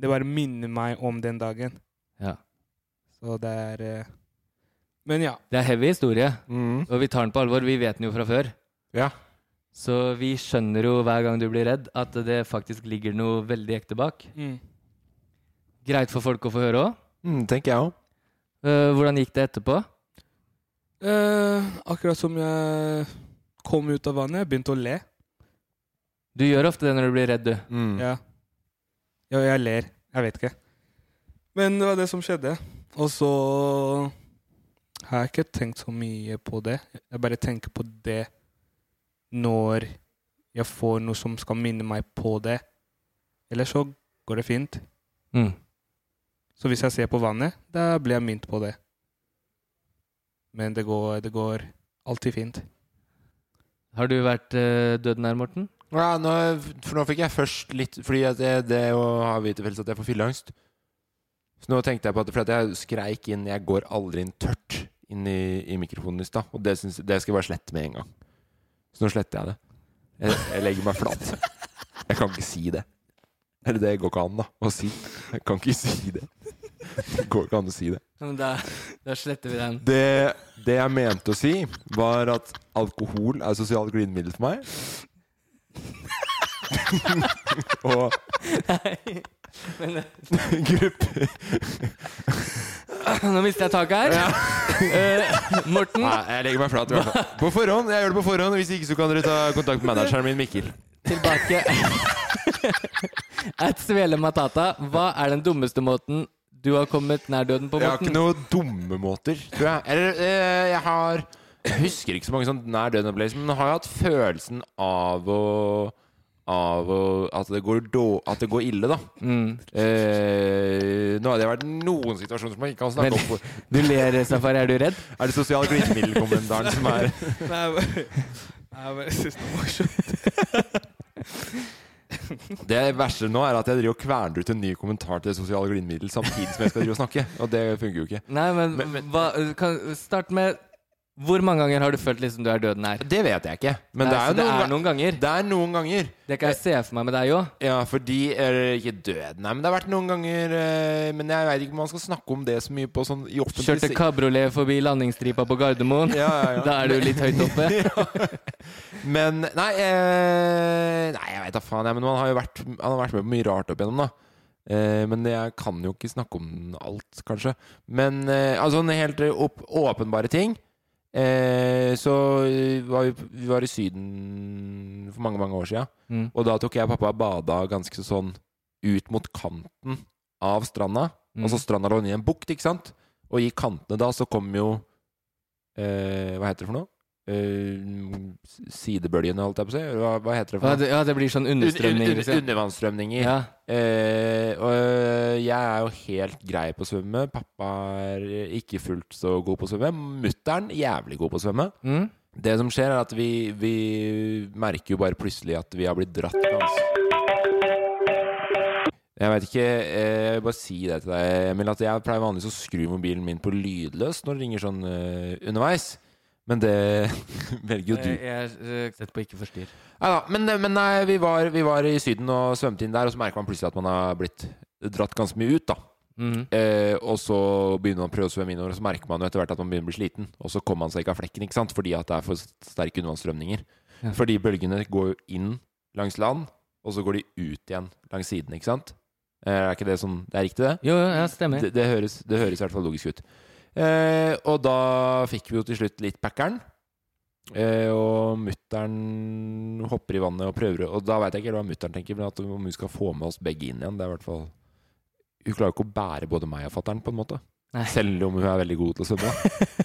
Speaker 4: det bare minner meg om den dagen.
Speaker 1: Ja.
Speaker 4: Så det er eh, Men ja.
Speaker 1: Det er heavy historie,
Speaker 2: Mm.
Speaker 1: og vi tar den på alvor. Vi vet den jo fra før.
Speaker 2: Ja.
Speaker 1: Så vi skjønner jo hver gang du blir redd, at det faktisk ligger noe veldig ekte bak.
Speaker 4: Mm.
Speaker 1: Greit for folk å få høre òg.
Speaker 2: Mm, tenker jeg òg.
Speaker 1: hvordan gikk det etterpå?
Speaker 4: Eh, akkurat som jeg kom ut av vannet, jeg begynte å le.
Speaker 1: Du gjør ofte det når du blir redd, du.
Speaker 2: Mm.
Speaker 4: Ja. ja, jeg ler. Jeg vet ikke. Men det var det som skjedde. Og så har jeg ikke tenkt så mye på det. Jeg bare tenker på det når jeg får noe som skal minne meg på det. Ellers så går det fint.
Speaker 1: Mm.
Speaker 4: Så hvis jeg ser på vannet, da blir jeg minnet på det. Men det går, det går alltid fint.
Speaker 1: Har du vært eh, død nær, Morten?
Speaker 2: Ja, nå, for nå fikk jeg først litt Fordi at jeg, det å ha vi til felles at jeg får fylleangst. Så nå tenkte jeg på at For at jeg skreik inn 'Jeg går aldri inn tørt' inn i, i mikrofonen i stad. Og det, syns- det skal jeg bare slette med en gang. Så nå sletter jeg det. Jeg, jeg legger meg flat. Jeg kan ikke si det. Eller det går ikke an, da, å si. Jeg kan ikke si det. Det går ikke an å si det.
Speaker 1: Da, sletter vi den.
Speaker 2: Det, det jeg mente å si, var at alkohol er sosialt glidemiddel for meg. Og eh, grupper
Speaker 1: Nå mister jeg taket her. Eh, Morten,
Speaker 2: Nei, jeg legger meg flat. i hvert fall. På forhånd. Jeg gjør det på forhånd. Hvis ikke så kan dere ta kontakt med manageren min, Mikkel.
Speaker 1: tilbake. At Svele Matata, hva er den dummeste måten du har kommet nær døden på,
Speaker 2: Jeg har ikke
Speaker 1: Morten?
Speaker 2: noen dumme måter, tror jeg. Eller eh, jeg har Jeg husker ikke så mange sånn nær døden-opplevelser, men har jeg hatt følelsen av å av å, at, det går då, at det går ille, da.
Speaker 1: Mm.
Speaker 2: Eh, nå hadde jeg vært i noen situasjoner som jeg ikke kan snakke
Speaker 1: Men-
Speaker 2: om. For.
Speaker 1: Du ler, Safari. Er du redd?
Speaker 2: Er det sosial glidemiddelkommentaren som er
Speaker 4: Nei, jeg bare, jeg bare synes det er morsomt.
Speaker 2: Det verste nå er at jeg driver og kverner ut en ny kommentar til sosial glidemiddel samtidig som jeg skal drive og snakke. Og det funker jo ikke.
Speaker 1: Nei, men,
Speaker 2: Men- men-
Speaker 1: hva, kan, start med Hvor mange ganger har du følt liksom du er døden nær?
Speaker 2: Det vet jeg ikke. Men det,
Speaker 1: Nei,
Speaker 2: er
Speaker 1: så
Speaker 2: jo noen,
Speaker 1: noen ganger.
Speaker 2: det er noen ganger.
Speaker 1: Det kan jeg se for meg med deg òg.
Speaker 2: Ja, fordi Eller ikke døden, nei, men det har vært noen ganger eh, Men jeg veit ikke om man skal snakke om det så mye på sånn i offentlig
Speaker 1: Kjørte
Speaker 2: se-
Speaker 1: kabriolet forbi landingsstripa på Gardermoen.
Speaker 2: Ja, ja, ja.
Speaker 1: Da er du litt høyt oppe.
Speaker 2: Men Nei, eh, nei jeg veit da faen. Jeg, men man har jo vært, han har vært med på mye rart opp igjennom, da. Eh, men jeg kan jo ikke snakke om alt, kanskje. Men eh, altså en helt opp, åpenbare ting. Eh, så var vi, vi var i Syden for mange, mange år sia.
Speaker 1: Mm.
Speaker 2: Og da tok jeg og pappa og bada ganske så sånn ut mot kanten av stranda.
Speaker 1: Mm.
Speaker 2: Altså stranda lå nede i en bukt, ikke sant? Og i kantene da så kom jo eh, Hva heter det for noe? Eh, sidebølgene, holdt jeg på å si. Hva, hva heter det
Speaker 1: Ja,
Speaker 2: for noe?
Speaker 1: det, ja, det blir sånn understrømning.
Speaker 2: Un- un- un-
Speaker 1: Liksom.
Speaker 2: Undervannsstrømninger.
Speaker 1: Ja.
Speaker 2: Eh, og øh, jeg er jo helt grei på å svømme. Pappa er ikke fullt så god på å svømme. Mutter'n jævlig god på å svømme.
Speaker 1: Mm?
Speaker 2: Det som skjer, er at vi, vi merker jo bare plutselig at vi har blitt dratt ganske Jeg veit ikke eh, Bare si det til deg, Emil, at jeg pleier vanligvis å skru mobilen min på lydløs når det ringer sånn eh, underveis. Men det velger jo du.
Speaker 1: Jeg er eh, sett på ikke forstyrr.
Speaker 2: Neida, men, men nei, vi, var, vi var i Syden og svømte inn der, og så merker man plutselig at man har blitt dratt ganske mye ut, da.
Speaker 1: Mhm.
Speaker 2: Eh, og så begynner man å prøve å svømme innover, og så merker man jo etter hvert at man begynner å bli sliten. Og så kommer man seg ikke av flekken, ikke sant? fordi at det er for sterke undervannsstrømninger.
Speaker 1: Ja.
Speaker 2: Fordi bølgene går jo inn langs land, og så går de ut igjen langs siden, ikke sant? Eh, er ikke det sånn Det er riktig, det?
Speaker 1: Jo, jo, ja, stemmer.
Speaker 2: Det, det, høres, det høres i hvert fall logisk ut. Eh, og da fikk vi jo til slutt litt packeren. Eh, og mutter'n hopper i vannet og prøver å- Og da veit jeg ikke helt hva mutter'n tenker, men at om hun skal få med oss begge inn igjen. Det er i hvert fall Hun klarer ikke å bære både meg og fatter'n, på en måte.
Speaker 1: Nei.
Speaker 2: Selv om hun er veldig god til å svømme.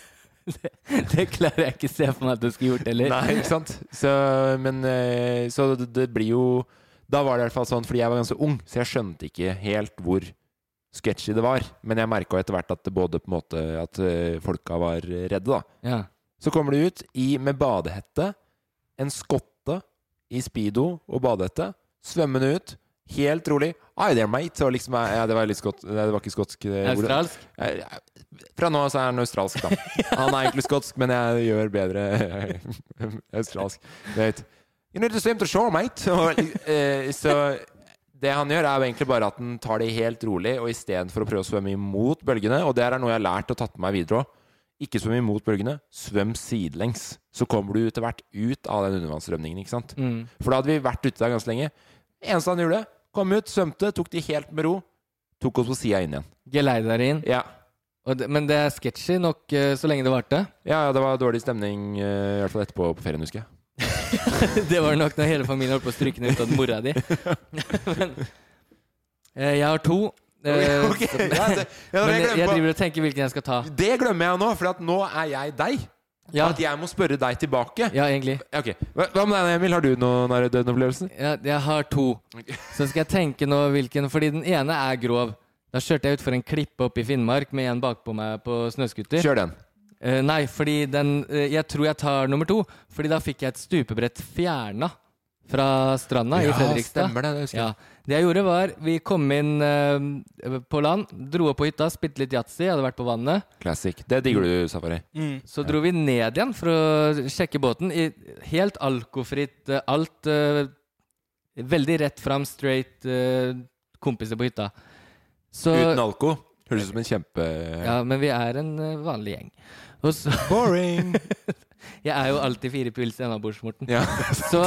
Speaker 1: Det klarer jeg ikke se for meg at du skulle gjort heller.
Speaker 2: Nei, ikke sant? Så, men, eh, så det, det blir jo Da var det i hvert fall sånn, fordi jeg var ganske ung, så jeg skjønte ikke helt hvor sketchy det var. Men jeg merka etter hvert at det både på en måte At eh, folka var redde, da.
Speaker 1: Ja.
Speaker 2: Så kommer de ut i, med badehette, en skotte i speedo og badehette, svømmende ut. Helt rolig. Hi there, mate. Så liksom, eh, ja, det var litt skott... Nei, det var ikke skotsk. eh, ord.
Speaker 1: Australsk?
Speaker 2: Eh, Fra nå av så er han australsk, da. Han er egentlig skotsk, men jeg gjør bedre australsk. Du vet. You need to swim to shore, mate. Og, eh, så det han gjør, er jo egentlig bare at han tar det helt rolig, og istedenfor å prøve å svømme imot bølgene, og det her er noe jeg har lært og tatt med meg videre òg, ikke svøm imot bølgene, svøm sidelengs. Så kommer du etter hvert ut av den undervannsstrømningen, ikke sant.
Speaker 1: Mm.
Speaker 2: For da hadde vi vært ute der ganske lenge. Eneste han gjorde, kom ut, svømte, tok de helt med ro, tok oss på sida inn igjen.
Speaker 1: Geleide deg inn.
Speaker 2: Ja.
Speaker 1: Og det, men det er sketchy nok eh, så lenge det varte.
Speaker 2: Ja, ja, det var dårlig stemning, eh, i hvert fall etterpå på ferien, husker jeg.
Speaker 1: Det var nok når hele familien holdt på å stryke ned uten mora di. Men eh, jeg har to. eh,
Speaker 2: Ok,
Speaker 1: som-
Speaker 2: ja, det, ja,
Speaker 1: men
Speaker 2: jeg
Speaker 1: jeg,
Speaker 2: glemmer på-
Speaker 1: driver og tenker hvilken jeg skal ta.
Speaker 2: det glemmer jeg nå, for at nå er jeg deg.
Speaker 1: Ja,
Speaker 2: At jeg må spørre deg tilbake.
Speaker 1: ja egentlig.
Speaker 2: Ok, Hva hva med deg, Emil? Har du noen nære døden-opplevelse?
Speaker 1: Jeg, jeg har to. Så skal jeg tenke nå hvilken, fordi den ene er grov. Da kjørte jeg utfor en klippe opp i Finnmark med en bakpå meg på snøskuter.
Speaker 2: Kjør den.
Speaker 1: Eh, nei, fordi den eh, Jeg tror jeg tar nummer to. Fordi da fikk jeg et stupebrett fjerna fra stranda i Fredrikstad.
Speaker 2: stemmer det. det husker jeg.
Speaker 1: Ja. Det jeg gjorde, var Vi kom inn eh, på land, dro opp på hytta, spilte litt yatzy, hadde vært på vannet.
Speaker 2: Classic. Det digger du, Safari.
Speaker 1: Så dro vi ned igjen for å sjekke båten. I helt alkofritt, eh, alt eh, Veldig rett fram, straight eh, kompiser på hytta. Så
Speaker 2: Uten alko. Høres ut som en kjempe...
Speaker 1: Ja, men vi er en eh, vanlig gjeng. Og så
Speaker 2: Boring!
Speaker 1: Jeg er jo alltid fire pils innabords, Morten.
Speaker 2: ja.
Speaker 1: Så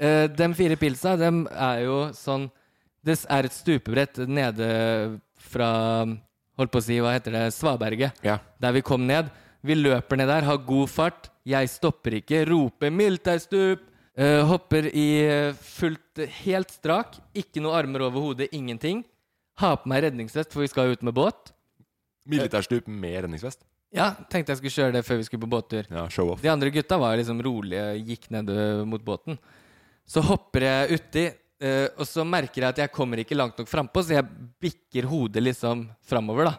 Speaker 1: eh, dem fire pilsa, dem er jo sånn Det er et stupebrett nede fra Holdt på å si, hva heter det? Svaberget.
Speaker 2: ja.
Speaker 1: Der vi kom ned. Vi løper ned der, har god fart. Jeg stopper ikke, roper 'Miltaustup'! eh, hopper i eh, fullt Helt strak. Ikke noe armer over hodet, ingenting. Har på meg redningsvest, for vi skal jo ut med båt.
Speaker 2: Militærstup med redningsvest.
Speaker 1: Ja, tenkte jeg skulle kjøre det før vi skulle på båttur.
Speaker 2: Ja, show off.
Speaker 1: De andre gutta var liksom rolige, gikk ned ø, mot båten. Så hopper jeg uti, ø, og så merker jeg at jeg kommer ikke langt nok frampå, så jeg bikker hodet liksom framover, da.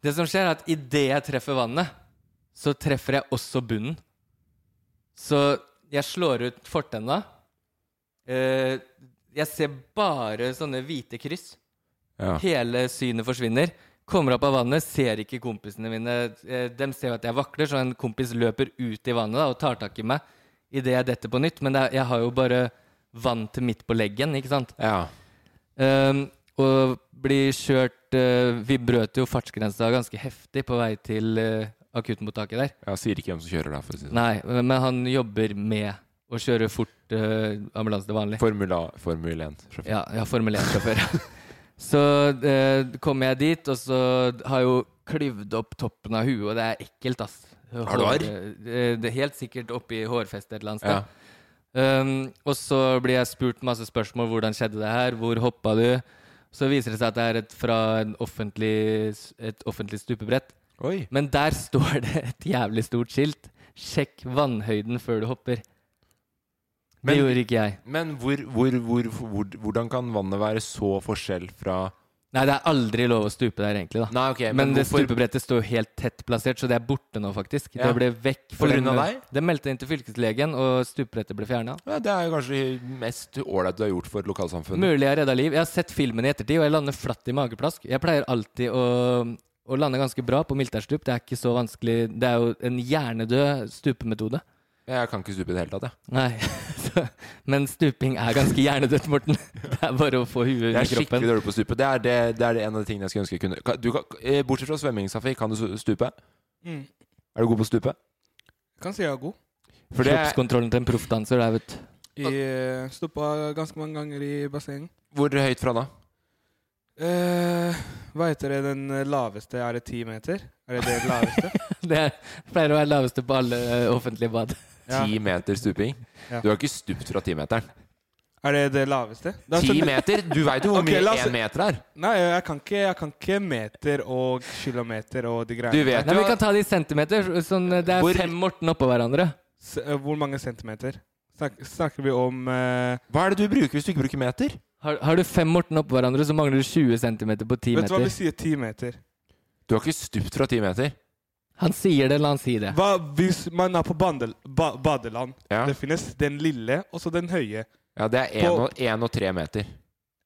Speaker 1: Det som skjer, er at idet jeg treffer vannet, så treffer jeg også bunnen. Så jeg slår ut fortenna. Eh, Jeg ser bare sånne hvite kryss.
Speaker 2: Ja.
Speaker 1: Hele synet forsvinner. Kommer opp av vannet, ser ikke kompisene mine. Eh, Dem ser jo at jeg vakler, så en kompis løper ut i vannet da, og tar tak i meg idet jeg detter på nytt. Men det er, jeg har jo bare vann til midt på leggen, ikke sant.
Speaker 2: ja.
Speaker 1: Ehm, og blir kjørt eh, Vi brøt jo fartsgrensa ganske heftig på vei til eh, akuttmottaket der.
Speaker 2: ja sier ikke hvem som kjører der, for å si det sånn.
Speaker 1: Nei, men men han jobber med å kjøre fort eh, ambulanse til vanlig.
Speaker 2: Formula, Formel 1.
Speaker 1: Ja, jeg har Formel 1-sjåfør. så eh, kommer jeg dit, og så har jeg jo klyvd opp toppen av huet, og det er ekkelt, ass.
Speaker 2: Har du arr?
Speaker 1: Eh, Det er helt sikkert oppi hårfestet et eller annet sted.
Speaker 2: Ja.
Speaker 1: Um, og så blir jeg spurt masse spørsmål. Hvordan skjedde det her? Hvor hoppa du? Så viser det seg at det er et, fra en offentlig, et offentlig stupebrett.
Speaker 2: Oi.
Speaker 1: Men der står det et jævlig stort skilt. Sjekk vannhøyden før du hopper.
Speaker 2: Men-
Speaker 1: det gjorde ikke jeg.
Speaker 2: Men hvor, hvor, hvor, hvor, hvordan kan vannet være så forskjell fra
Speaker 1: Nei, det er aldri lov å stupe der, egentlig. da
Speaker 2: Nei, ok,
Speaker 1: Men,
Speaker 2: Eh,
Speaker 1: det
Speaker 2: hvorfor-
Speaker 1: stupebrettet står jo helt tett plassert, så det er borte nå, faktisk.
Speaker 2: Ja.
Speaker 1: Det ble vekk.
Speaker 2: På grunn av
Speaker 1: den-
Speaker 2: deg?
Speaker 1: Det meldte inn til fylkeslegen, og stupebrettet ble fjerna.
Speaker 2: ja, Det er jo kanskje mest ålreit du har gjort for lokalsamfunnet.
Speaker 1: Mulig jeg redda liv. Jeg har sett filmen i ettertid, og jeg lander flatt i mageplask. Jeg pleier alltid å, å lande ganske bra på miltærstup. Det er ikke så vanskelig. Det er jo en hjernedød stupemetode.
Speaker 2: Jeg kan ikke stupe i det hele tatt, jeg.
Speaker 1: Nei. Så, men stuping er ganske hjernedødt, Morten. Det er bare å få huet
Speaker 2: Jeg
Speaker 1: under
Speaker 2: er skikkelig
Speaker 1: kroppen.
Speaker 2: dårlig på å stupe. Det er, det, det er det en av de tingene jeg skulle ønske jeg kunne. Kan- Du kan, eh, bortsett fra svømming, Safi, kan du su- stupe?
Speaker 4: Mm.
Speaker 2: Er du god på å stupe?
Speaker 4: Jeg kan si jeg er god.
Speaker 2: For det,
Speaker 1: Kroppskontrollen til en proffdanser, det er, vet du.
Speaker 4: Jeg stoppa ganske mange ganger i basseng.
Speaker 2: hvor høyt fra da?
Speaker 4: Eh, hva heter det den laveste? Er det ti meter? Er det det laveste?
Speaker 1: Det er- pleier å være laveste på alle eh, offentlige bad.
Speaker 4: Ja.
Speaker 2: Ti meter stuping?
Speaker 4: Ja.
Speaker 2: Du har ikke stupt fra timeteren.
Speaker 4: Er det det laveste? Det er
Speaker 2: Ti
Speaker 4: så-
Speaker 2: meter? Du veit jo hvor
Speaker 4: Ok,
Speaker 2: mye
Speaker 4: la oss-
Speaker 2: én meter er.
Speaker 4: Nei, jeg kan, ikke, jeg kan ikke meter og kilometer og de greiene.
Speaker 2: Du vet
Speaker 1: Nei,
Speaker 2: jo
Speaker 1: vi kan ta det i centimeter. Sånn, eh, det er
Speaker 2: Hvor-
Speaker 1: fem Morten oppå hverandre.
Speaker 4: S eh, hvor mange centimeter? Snak snakker vi om eh,
Speaker 2: Hva er det du bruker hvis du ikke bruker meter?
Speaker 1: Har, har du fem Morten oppå hverandre, så mangler du 20 centimeter på 10
Speaker 4: Vet du hva
Speaker 1: meter.
Speaker 4: vi sier? Ti meter.
Speaker 2: Du har ikke stupt fra ti meter.
Speaker 1: Han sier det, la han si det.
Speaker 4: Hva hvis man er på bandel, ba badeland?
Speaker 2: Ja,
Speaker 4: Det finnes den lille og så den høye.
Speaker 2: ja det er én
Speaker 4: På-
Speaker 2: og, en og tre meter.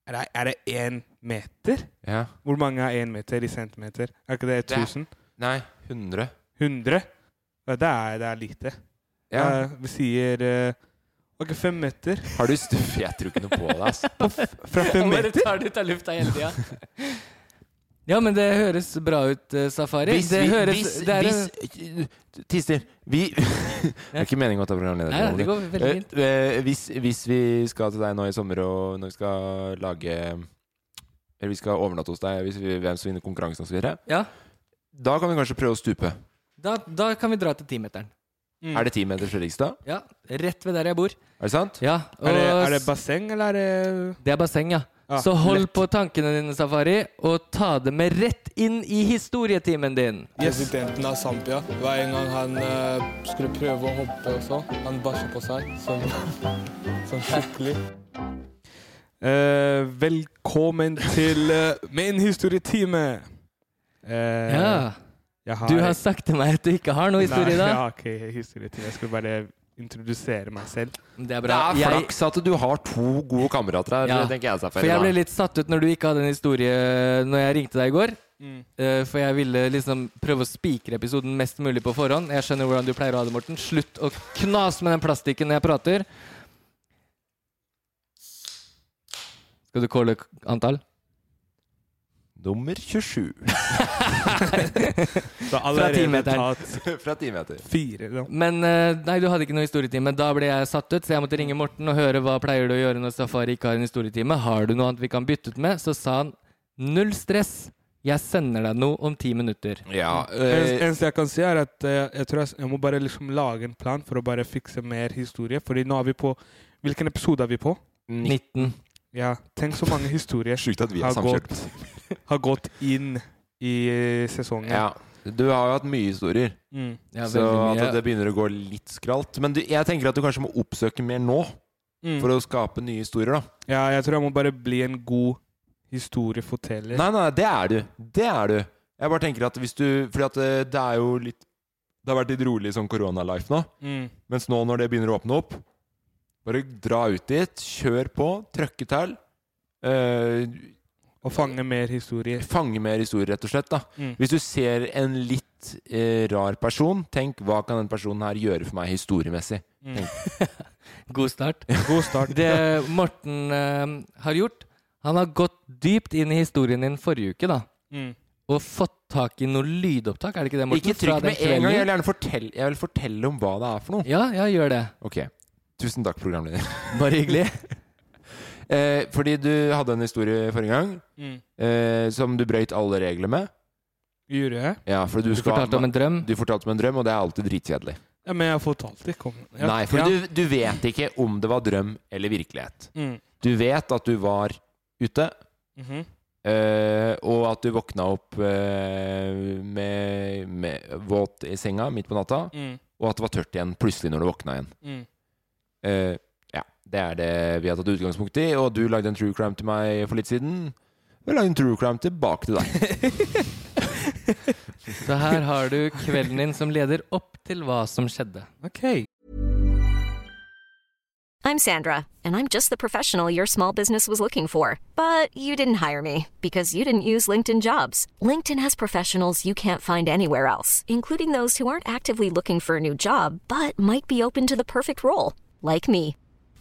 Speaker 4: Er det, er det én meter?
Speaker 2: Ja.
Speaker 4: Hvor mange er én meter i centimeter? Er ikke det
Speaker 2: Det er-
Speaker 4: 1000?
Speaker 2: Nei, 100.
Speaker 4: 100? Ja, Det er, det er lite.
Speaker 2: Ja.
Speaker 4: Eh, vi sier eh, Ok, fem meter.
Speaker 2: Har du stupt Jeg tror ikke noe på det, altså.
Speaker 4: På f fra fem
Speaker 1: Han bare
Speaker 4: meter?
Speaker 1: tar det ut av lufta hele tida. Ja, men det høres bra ut, eh, Safari.
Speaker 2: Hvis
Speaker 1: det
Speaker 2: vi-
Speaker 1: høres
Speaker 2: hvis-
Speaker 1: det er en-
Speaker 2: hvis- Tister, vi Det er ikke meningen å ta programleder.
Speaker 1: Nei, nei, det går veldig fint.
Speaker 2: Eh, eh, hvis, hvis vi skal til deg nå i sommer, og når vi skal lage Eller vi skal overnatte hos deg, hvis vi, hvem som vinner konkurransen og så videre
Speaker 1: Ja.
Speaker 2: da kan vi kanskje prøve å stupe.
Speaker 1: Da, da kan vi dra til timeteren.
Speaker 4: Mm.
Speaker 2: Er det ti meter Fredrikstad?
Speaker 1: Ja, rett ved der jeg bor.
Speaker 2: Er det sant?
Speaker 1: Ja, og
Speaker 4: er, det, er det basseng, eller er det
Speaker 1: det er basseng, ja.
Speaker 4: Ja,
Speaker 1: Så hold
Speaker 4: lett.
Speaker 1: på tankene dine, Safari, og ta det med rett inn i historietimen din.
Speaker 5: Presidenten av Zambia. Hver en gang han eh, skulle prøve å hoppe og så, han bæsja på seg. Sånn, sånn skikkelig.
Speaker 4: Eh, velkommen til eh, min historietime. Uh,
Speaker 1: Ja, Du har sagt til meg at du ikke har noe historie
Speaker 4: Nei,
Speaker 1: da.
Speaker 4: jeg har ikke historietime. Jeg skulle bare introdusere meg selv.
Speaker 1: Det er
Speaker 2: Det
Speaker 1: bra.
Speaker 2: er
Speaker 1: Jeg,
Speaker 2: flaks at du har to gode kamerater her,
Speaker 1: Ja.
Speaker 2: tenker jeg. altså, Safari,
Speaker 1: for jeg
Speaker 2: da.
Speaker 1: ble litt satt ut når du ikke hadde en historie når jeg ringte deg i går. Eh, For jeg ville liksom prøve å spikre episoden mest mulig på forhånd. Jeg skjønner hvordan du pleier å ha det, Morten. Slutt å knase med den plastikken når jeg prater. Skal du calle k- antall?
Speaker 2: Nummer 27
Speaker 4: Så allerede
Speaker 1: timeteren.
Speaker 4: tatt
Speaker 2: fra ti meter.
Speaker 4: fire. Da.
Speaker 1: Men eh, nei, du hadde ikke noe historietime. Da ble jeg satt ut, så jeg måtte ringe Morten og høre hva pleier du å gjøre når Safari ikke har en historietime. Har du noe annet vi kan bytte ut med? Så sa han null stress, jeg sender deg noe om ti minutter.
Speaker 2: Ja.
Speaker 4: En,
Speaker 2: eh,
Speaker 4: eneste jeg kan si, er at eh, jeg tror jeg, s- jeg må bare liksom lage en plan for å bare fikse mer historie. Fordi nå er vi på Hvilken episode er vi på?
Speaker 1: 19.
Speaker 4: Ja, tenk så mange historier
Speaker 2: Sjukt at vi er
Speaker 4: har gått,
Speaker 2: samkjørt.
Speaker 4: har gått inn i eh, sesongen.
Speaker 2: Ja. Du har jo hatt mye historier.
Speaker 4: Mm.
Speaker 1: Ja,
Speaker 2: så altså, at
Speaker 1: veldig mye.
Speaker 2: det begynner å gå litt skralt. Men du, jeg tenker at du kanskje må oppsøke mer nå,
Speaker 4: Mm.
Speaker 2: for å skape nye historier, da.
Speaker 4: Ja, jeg tror jeg må bare bli en god historieforteller.
Speaker 2: Nei, nei, det er du. Det er du. Jeg bare tenker at hvis du Fordi at eh, det er jo litt Det har vært litt rolig sånn koronalife nå.
Speaker 4: Mm.
Speaker 2: Mens nå når det begynner å åpne opp, bare dra ut dit, kjør på, trøkke til. eh,
Speaker 4: Og fange mer historier.
Speaker 2: fange mer historier, rett og slett. da
Speaker 4: Mm.
Speaker 2: Hvis du ser en litt eh, rar person, tenk hva kan den personen her gjøre for meg historiemessig?
Speaker 4: Mm.
Speaker 1: God start.
Speaker 4: God start.
Speaker 1: Det Morten eh, har gjort Han har gått dypt inn i historien din forrige uke, da.
Speaker 4: Mm.
Speaker 1: Og fått tak i noe lydopptak, er det ikke det, Morten?
Speaker 2: Ikke
Speaker 1: Fra
Speaker 2: trykk
Speaker 1: den
Speaker 2: med en gang, jeg vil
Speaker 1: kvelden.
Speaker 2: gjerne fortelle, jeg vil fortelle om hva det er for noe.
Speaker 1: Ja, ja, gjør det.
Speaker 2: Ok, tusen takk programleder.
Speaker 1: Bare hyggelig.
Speaker 2: Eh, fordi du hadde en historie forrige gang
Speaker 4: Mm.
Speaker 2: eh, som du brøyt alle regler med.
Speaker 4: Gjorde jeg?
Speaker 2: Ja, for du,
Speaker 1: Du
Speaker 2: skal,
Speaker 1: fortalte om en drøm.
Speaker 2: du fortalte om en drøm, og det er alltid dritkjedelig.
Speaker 4: Ja, men jeg fortalte ikke om det. Ja.
Speaker 2: Nei, for
Speaker 4: ja.
Speaker 2: du, du vet ikke om det var drøm eller virkelighet.
Speaker 4: Mm.
Speaker 2: Du vet at du var ute,
Speaker 4: Mhm.
Speaker 2: eh, og at du våkna opp eh, med, med våt i senga midt på natta,
Speaker 4: mm.
Speaker 2: og at det var tørt igjen plutselig når du våkna igjen.
Speaker 4: Mm.
Speaker 2: Eh, ja, det er det vi har tatt utgangspunkt i, og du lagde en true crime til meg for litt siden. Og jeg lagde en true crime tilbake til deg.
Speaker 1: Så her har du kvelden din som leder opp til hva som skjedde.
Speaker 4: Ok.
Speaker 6: I'm Sandra, and I'm just the professional your small business was looking for. But you didn't hire me because you didn't use LinkedIn jobs. LinkedIn has professionals you can't find anywhere else, including those who aren't actively looking for a new job but might be open to the perfect role, like me.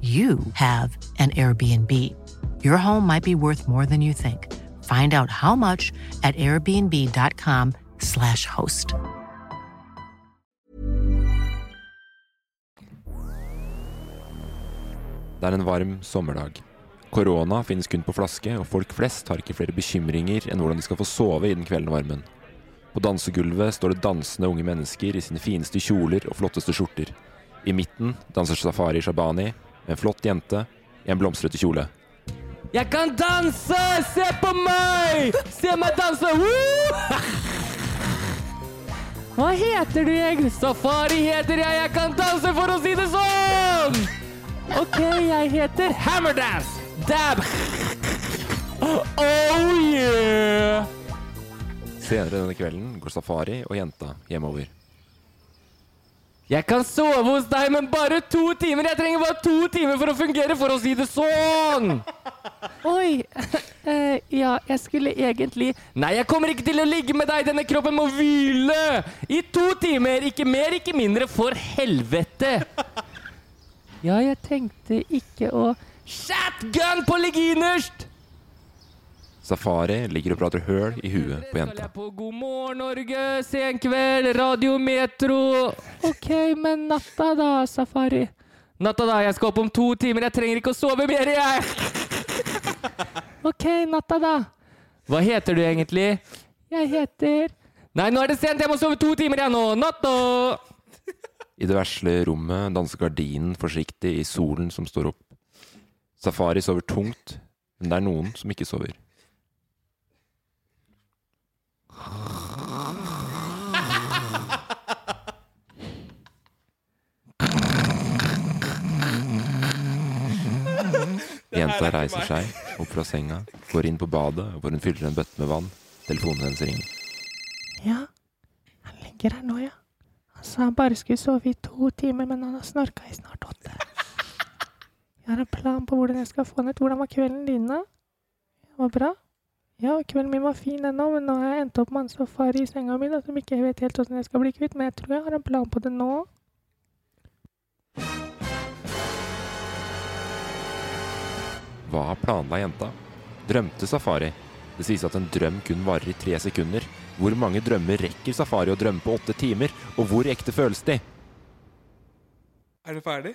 Speaker 7: you have an Airbnb. Your home might be worth more than you think. Find out how much at airbnb.com/slash host.
Speaker 2: Det er en varm sommerdag. Korona finnes kun på flaske, og folk flest har ikke flere bekymringer enn hvordan de skal få sove i den kveldende varmen. På dansegulvet står det dansende unge mennesker i sine fineste kjoler og flotteste skjorter. I midten danser Safari Shabani, en flott jente i en blomstrete kjole.
Speaker 1: Jeg kan danse! Se på meg! Se meg danse! Woo! Hva heter du, jeg? Safari heter jeg. Jeg kan danse, for å si det sånn! OK, jeg heter Hammerdance. Dab. Oh yeah!
Speaker 2: Senere denne kvelden går Safari og jenta hjemover.
Speaker 1: Jeg kan sove hos deg, men bare to timer. Jeg trenger bare to timer for å fungere, for å si det sånn.
Speaker 8: Oi. eh, ja, jeg skulle egentlig
Speaker 1: Nei, jeg kommer ikke til å ligge med deg. Denne kroppen må hvile i to timer. Ikke mer, ikke mindre. For helvete.
Speaker 8: Ja, jeg tenkte ikke å
Speaker 1: Shotgun på ligg innerst.
Speaker 2: Safari ligger og prater høl i huet på
Speaker 1: Skal
Speaker 2: jenta.
Speaker 1: jeg på God morgen, Norge, senkveld, Radio Metro.
Speaker 8: OK, men natta da, Safari.
Speaker 1: Natta, da. Jeg skal opp om to timer. Jeg trenger ikke å sove mer, jeg.
Speaker 8: OK, natta da.
Speaker 1: Hva heter du egentlig?
Speaker 8: Jeg heter
Speaker 1: Nei, nå er det sent. Jeg må sove to timer, jeg nå. Natta.
Speaker 2: I det vesle rommet danser gardinen forsiktig i solen som står opp. Safari sover tungt, men det er noen som ikke sover. Jenta reiser seg opp fra senga, går inn på badet hvor hun fyller en bøtte med vann. Telefonen hennes ringer.
Speaker 8: Ja, han ligger her nå, ja. Han sa han bare skulle sove i to timer, men han har snorka i snart åtte. Jeg har en plan på hvordan jeg skal få han ut. Hvordan var kvelden din, da? Det var bra? Ja, kvelden min var fin ennå, men nå har jeg endt opp med en safari i senga mi, da, som ikke jeg vet helt hvordan jeg skal bli kvitt, men jeg tror jeg har en plan på det nå.
Speaker 2: Hva planla jenta? Drømte Safari? Det sies at en drøm kun varer i tre sekunder. Hvor mange drømmer rekker Safari å drømme på åtte timer? Og hvor ekte føles de?
Speaker 4: Er du ferdig?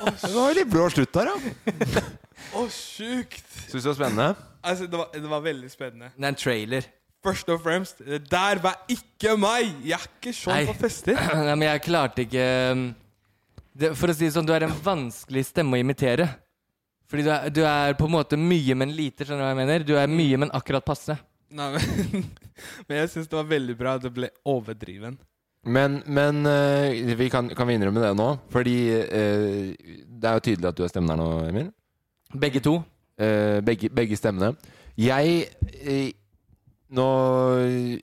Speaker 2: Det var veldig blå slutt der, ja.
Speaker 4: Å, sjukt!
Speaker 2: Syns du det var spennende?
Speaker 4: Altså, det var, det var veldig spennende.
Speaker 1: Det er en trailer.
Speaker 4: Først og fremst, det der var ikke meg! Jeg er ikke sånn
Speaker 1: Nei.
Speaker 4: på fester.
Speaker 1: Nei, men jeg klarte ikke um, det, For å si det sånn, du er en vanskelig stemme å imitere. Fordi du er, du er på en måte mye, men lite. Skjønner du hva jeg mener? Du er mye, men akkurat passe.
Speaker 4: Nei, men, men jeg syns det var veldig bra at det ble overdriven.
Speaker 2: Men, men eh, vi kan, kan vi innrømme det nå? Fordi eh, det er jo tydelig at du er stemmen her nå, Emil. Eh,
Speaker 1: Begge to.
Speaker 2: begge, begge stemmene. Jeg eh, Nå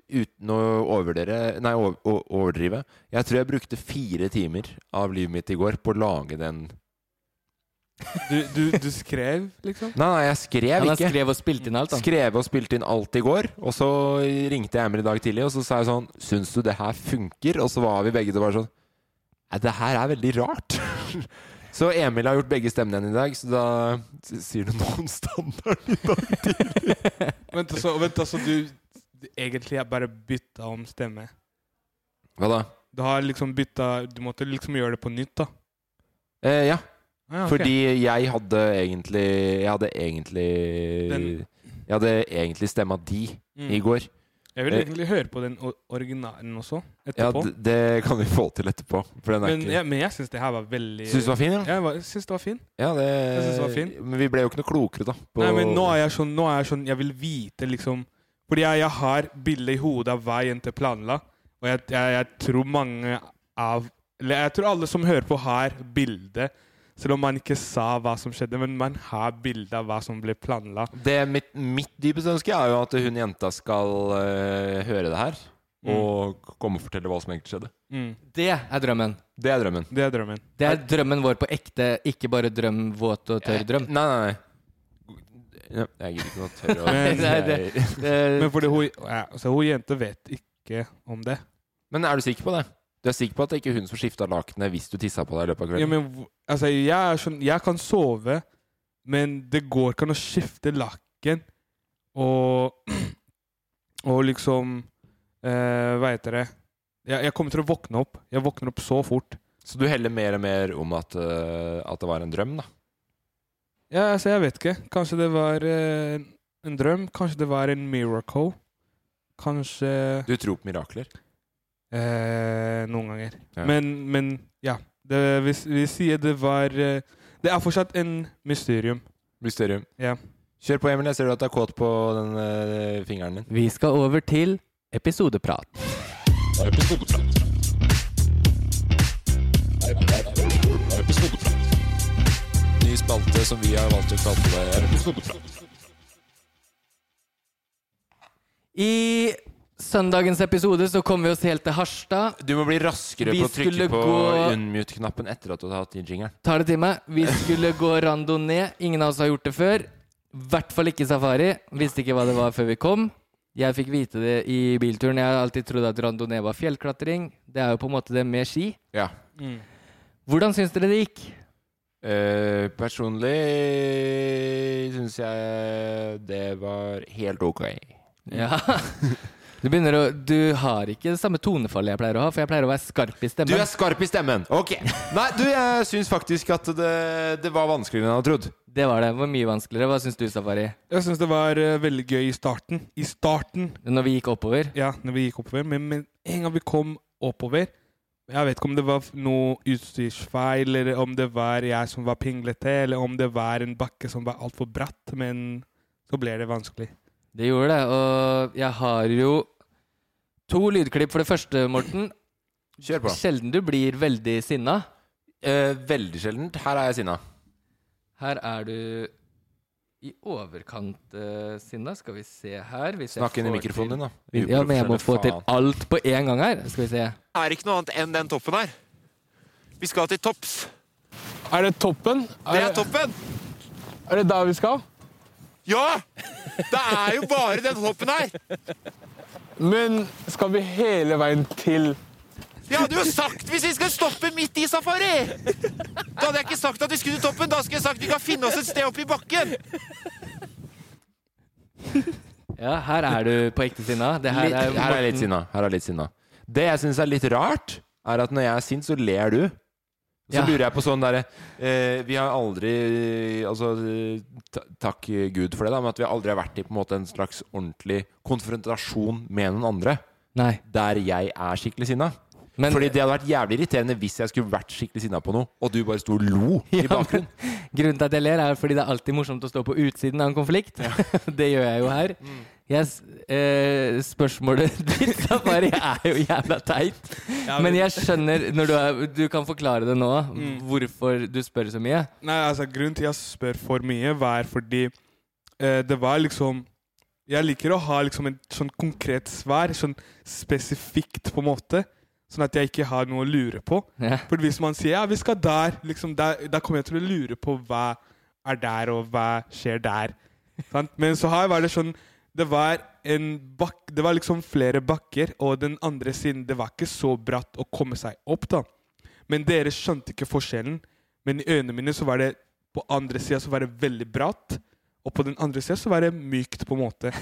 Speaker 2: uten å overvurdere Nei, over, o- overdrive. Jeg tror jeg brukte fire timer av livet mitt i går på å lage den.
Speaker 4: Du, du, du skrev, liksom?
Speaker 2: Nei, nei jeg skrev
Speaker 1: Han har
Speaker 2: ikke.
Speaker 1: skrev og spilt inn alt, da.
Speaker 2: Skrev og spilte inn alt i går, og så ringte jeg Emil i dag tidlig, og så sa jeg sånn Syns du det her funker? Og så var vi begge to bare sånn Nei, det her er veldig rart. så Emil har gjort begge stemmene igjen i dag, så da s- sier du noe om standarden i dag tidlig.
Speaker 4: Vent, altså, vent, altså du, du egentlig er bare bytta om stemme.
Speaker 2: Hva da?
Speaker 4: Du har liksom bytta Du måtte liksom gjøre det på nytt, da.
Speaker 2: Eh, ja.
Speaker 4: Ah, ja, ok.
Speaker 2: Fordi jeg hadde egentlig Jeg hadde egentlig
Speaker 4: Den-
Speaker 2: Jeg hadde egentlig stemma di
Speaker 4: Mm.
Speaker 2: i går.
Speaker 4: Jeg vil
Speaker 2: Eh,
Speaker 4: egentlig høre på den o- originalen også,
Speaker 2: ja,
Speaker 4: etterpå.
Speaker 2: d- det kan vi få til etterpå. For den er
Speaker 4: men,
Speaker 2: ikke
Speaker 4: ja, men jeg syns det her var veldig
Speaker 2: Syns du det var fin, ja?
Speaker 4: Ja, jeg var- jeg syns det var fin.
Speaker 2: Ja, det,
Speaker 4: Jeg synes det var fint.
Speaker 2: Men vi ble jo ikke noe klokere, da. på-
Speaker 4: Nei, men nå er jeg sånn, nå er jeg, sånn jeg vil vite liksom Fordi jeg, jeg har bildet i hodet av hva jente planla, og jeg, jeg, jeg tror mange av Eller jeg tror alle som hører på, har bildet. Selv om man ikke sa hva som skjedde, men man har bilde av hva som ble planla.
Speaker 2: det mitt, mitt dypeste ønske er jo at hun jenta skal eh, høre det her.
Speaker 4: Mm.
Speaker 2: Og k- komme og fortelle hva som egentlig skjedde.
Speaker 4: Mm.
Speaker 1: Det er drømmen.
Speaker 2: Det er drømmen.
Speaker 4: Det er drømmen.
Speaker 1: Det er drømmen vår på ekte, ikke bare drøm, våt og tørr drøm.
Speaker 2: Eh, Nei, nei, nei. Jeg gidder ikke noe tørre å
Speaker 4: Men-
Speaker 1: Nei, det- det-
Speaker 4: Men fordi hun, ja, så hun jente vet ikke om det.
Speaker 2: Men er du sikker på det? Du er sikker på at det ikke er hun som skifta lakenet hvis du tissa på deg i løpet av
Speaker 4: Ja,
Speaker 2: kvelden?
Speaker 4: men, hv- altså, jeg, er sånn, jeg kan sove, men det går ikke an å skifte lakken og Og liksom eh, Hva heter det jeg, jeg kommer til å våkne opp. Jeg våkner opp så fort.
Speaker 2: Så du heller mer og mer om at, eh, at det var en drøm, da?
Speaker 4: Ja, altså, jeg vet ikke. Kanskje det var eh, en drøm. Kanskje det var en miracle. Kanskje
Speaker 2: Du tror på mirakler?
Speaker 4: eh, Noen ganger.
Speaker 2: Ja.
Speaker 4: Men, men ja. Det, vi, s- vi sier det var eh, Det er fortsatt en mysterium.
Speaker 2: Mysterium.
Speaker 4: Ja.
Speaker 2: Kjør på, Emil. Jeg ser du at du er kåt på den eh, fingeren din.
Speaker 1: Vi skal over til episodeprat.
Speaker 2: Ny spalte som vi har valgt å kalle
Speaker 1: I søndagens episode så kom vi oss helt til Harstad.
Speaker 2: Du må bli raskere
Speaker 1: Vi
Speaker 2: på å trykke
Speaker 1: skulle
Speaker 2: på
Speaker 1: gå-
Speaker 2: unmute-knappen etter at du har tatt i jingeren.
Speaker 1: Tar det til meg. Vi skulle gå randonee. Ingen av oss har gjort det før. I hvert fall ikke safari. Visste ikke hva det var før vi kom. Jeg fikk vite det i bilturen. Jeg har alltid trodd at randonee var fjellklatring. Det er jo på en måte det med ski.
Speaker 2: Ja.
Speaker 1: Hvordan syns dere det gikk?
Speaker 2: Eh, personlig syns jeg det var helt ok.
Speaker 1: Ja. Du begynner å Du har ikke det samme tonefallet jeg pleier å ha, for jeg pleier å være skarp i
Speaker 2: Du
Speaker 1: stemmen.
Speaker 2: er skarp i stemmen! Ok. Nei, du, jeg syns faktisk at det, det var vanskeligere enn jeg hadde trodd.
Speaker 1: Det var det. Det var mye vanskeligere. Hva syns du, Safari?
Speaker 4: Jeg syns det var eh, veldig gøy i starten. I starten,
Speaker 1: Når vi gikk oppover?
Speaker 4: ja, når vi gikk oppover. Men med en gang vi kom oppover Jeg vet ikke om det var noe utstyrsfeil, eller om det var jeg som var pinglete, eller om det var en bakke som var altfor bratt, men så ble det vanskelig.
Speaker 1: Det gjorde det. Og jeg har jo to lydklipp for det første, Morten.
Speaker 2: Kjør på.
Speaker 1: Sjelden du blir veldig sinna.
Speaker 2: Eh, veldig sjeldent. Her er jeg sinna.
Speaker 1: Her er du i overkant eh, sinna. Skal vi se her hvis jeg
Speaker 2: Snakk inn i
Speaker 1: får
Speaker 2: mikrofonen din, da.
Speaker 1: til- Ja, men jeg må få til
Speaker 2: Uprofesjonelle faen.
Speaker 1: alt på en gang her. Skal vi se.
Speaker 2: Er ikke noe annet enn den toppen her. Vi skal til topps.
Speaker 5: Er det toppen?
Speaker 2: Det er toppen!
Speaker 5: Er det der vi skal?
Speaker 2: Ja! Det er jo bare den toppen her!
Speaker 5: Men skal vi hele veien til
Speaker 2: Jeg hadde jo sagt hvis vi skal stoppe midt i safari! Da hadde jeg ikke sagt at vi skulle til toppen. Da skulle jeg sagt vi kan finne oss et sted oppi bakken.
Speaker 1: Ja, her er du på ekte sinna. Det her er,
Speaker 2: Her er jeg litt sinna. Her er jeg litt sinna. Det jeg syns er litt rart, er at når jeg er sint, så ler du. Så
Speaker 1: Ja.
Speaker 2: lurer jeg på sånn derre eh, Vi har aldri Altså, eh, ta- takk Gud for det, da, men at vi aldri har vært i på en måte en slags ordentlig konfrontasjon med noen andre
Speaker 1: Nei.
Speaker 2: der jeg er skikkelig sinna. Fordi det hadde vært jævlig irriterende hvis jeg skulle vært skikkelig sinna på noe, og du bare sto og lo i bakgrunnen.
Speaker 1: Grunnen til at jeg ler, er fordi det er alltid morsomt å stå på utsiden av en konflikt. det gjør jeg jo her. Jeg, s- eh, spørsmålet ditt Safari, er jo jævla teit.
Speaker 4: Ja, men-
Speaker 1: Men jeg skjønner når du, er, du kan forklare det nå,
Speaker 2: Mm.
Speaker 1: hvorfor du spør så mye.
Speaker 4: Nei, altså Grunnen til jeg spør for mye, var fordi eh, det var liksom Jeg liker å ha liksom et sånn konkret svar, sånn spesifikt, på en måte. Sånn at jeg ikke har noe å lure på.
Speaker 1: Ja.
Speaker 4: For hvis man sier ja, vi skal der, liksom, der, da kommer jeg til å lure på hva er der, og hva skjer der. Sant? Men så her var det sånn det var, en bak, det var liksom flere bakker, og den andre siden Det var ikke så bratt å komme seg opp, da. Men dere skjønte ikke forskjellen. Men i øynene mine så var det på andre sida så var det veldig bratt, og på den andre sida så var det mykt, på en måte.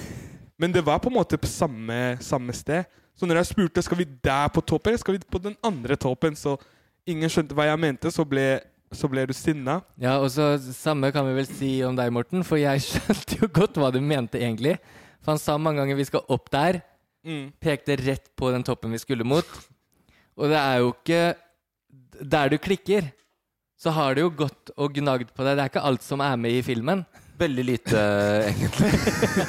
Speaker 4: Men det var på en måte på samme, samme sted. Så når jeg spurte skal vi der på toppen, eller skal vi på den andre toppen, så ingen skjønte hva jeg mente, så ble, så ble du sinna.
Speaker 1: Ja, og så Samme kan vi vel si om deg, Morten, for jeg skjønte jo godt hva du mente egentlig. For han sa mange ganger 'vi skal opp der',
Speaker 4: Mm.
Speaker 1: pekte rett på den toppen vi skulle mot. Og det er jo ikke Der du klikker, så har det jo gått og gnagd på deg. Det er ikke alt som er med i filmen.
Speaker 2: Veldig lite, egentlig.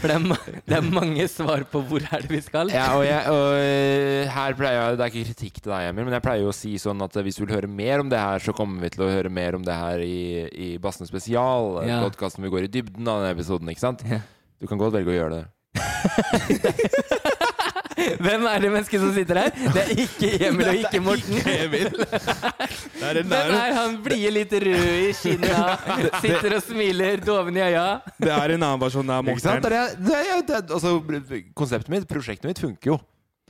Speaker 1: For det er, ma det er mange svar på hvor er det vi skal.
Speaker 2: Ja, og jeg, og her pleier jeg, Det er ikke kritikk til deg, Emil, men jeg pleier jo å si sånn at hvis du vil høre mer om det her, så kommer vi til å høre mer om det her i, i Bassene spesial.
Speaker 1: Ja.
Speaker 2: Podkasten vi går i dybden av denne episoden, ikke sant? Du kan godt velge å gjøre det.
Speaker 1: Hvem er det mennesket som sitter her? Det er ikke Emil og ikke Morten. Hvem er han blide litt rød i kinna? Sitter og smiler, doven i øya.
Speaker 4: Det er en annen versjon av
Speaker 2: Ikke sant?
Speaker 4: Morten.
Speaker 2: Det er, det er, det er, altså, konseptet mitt, prosjektet mitt, funker jo.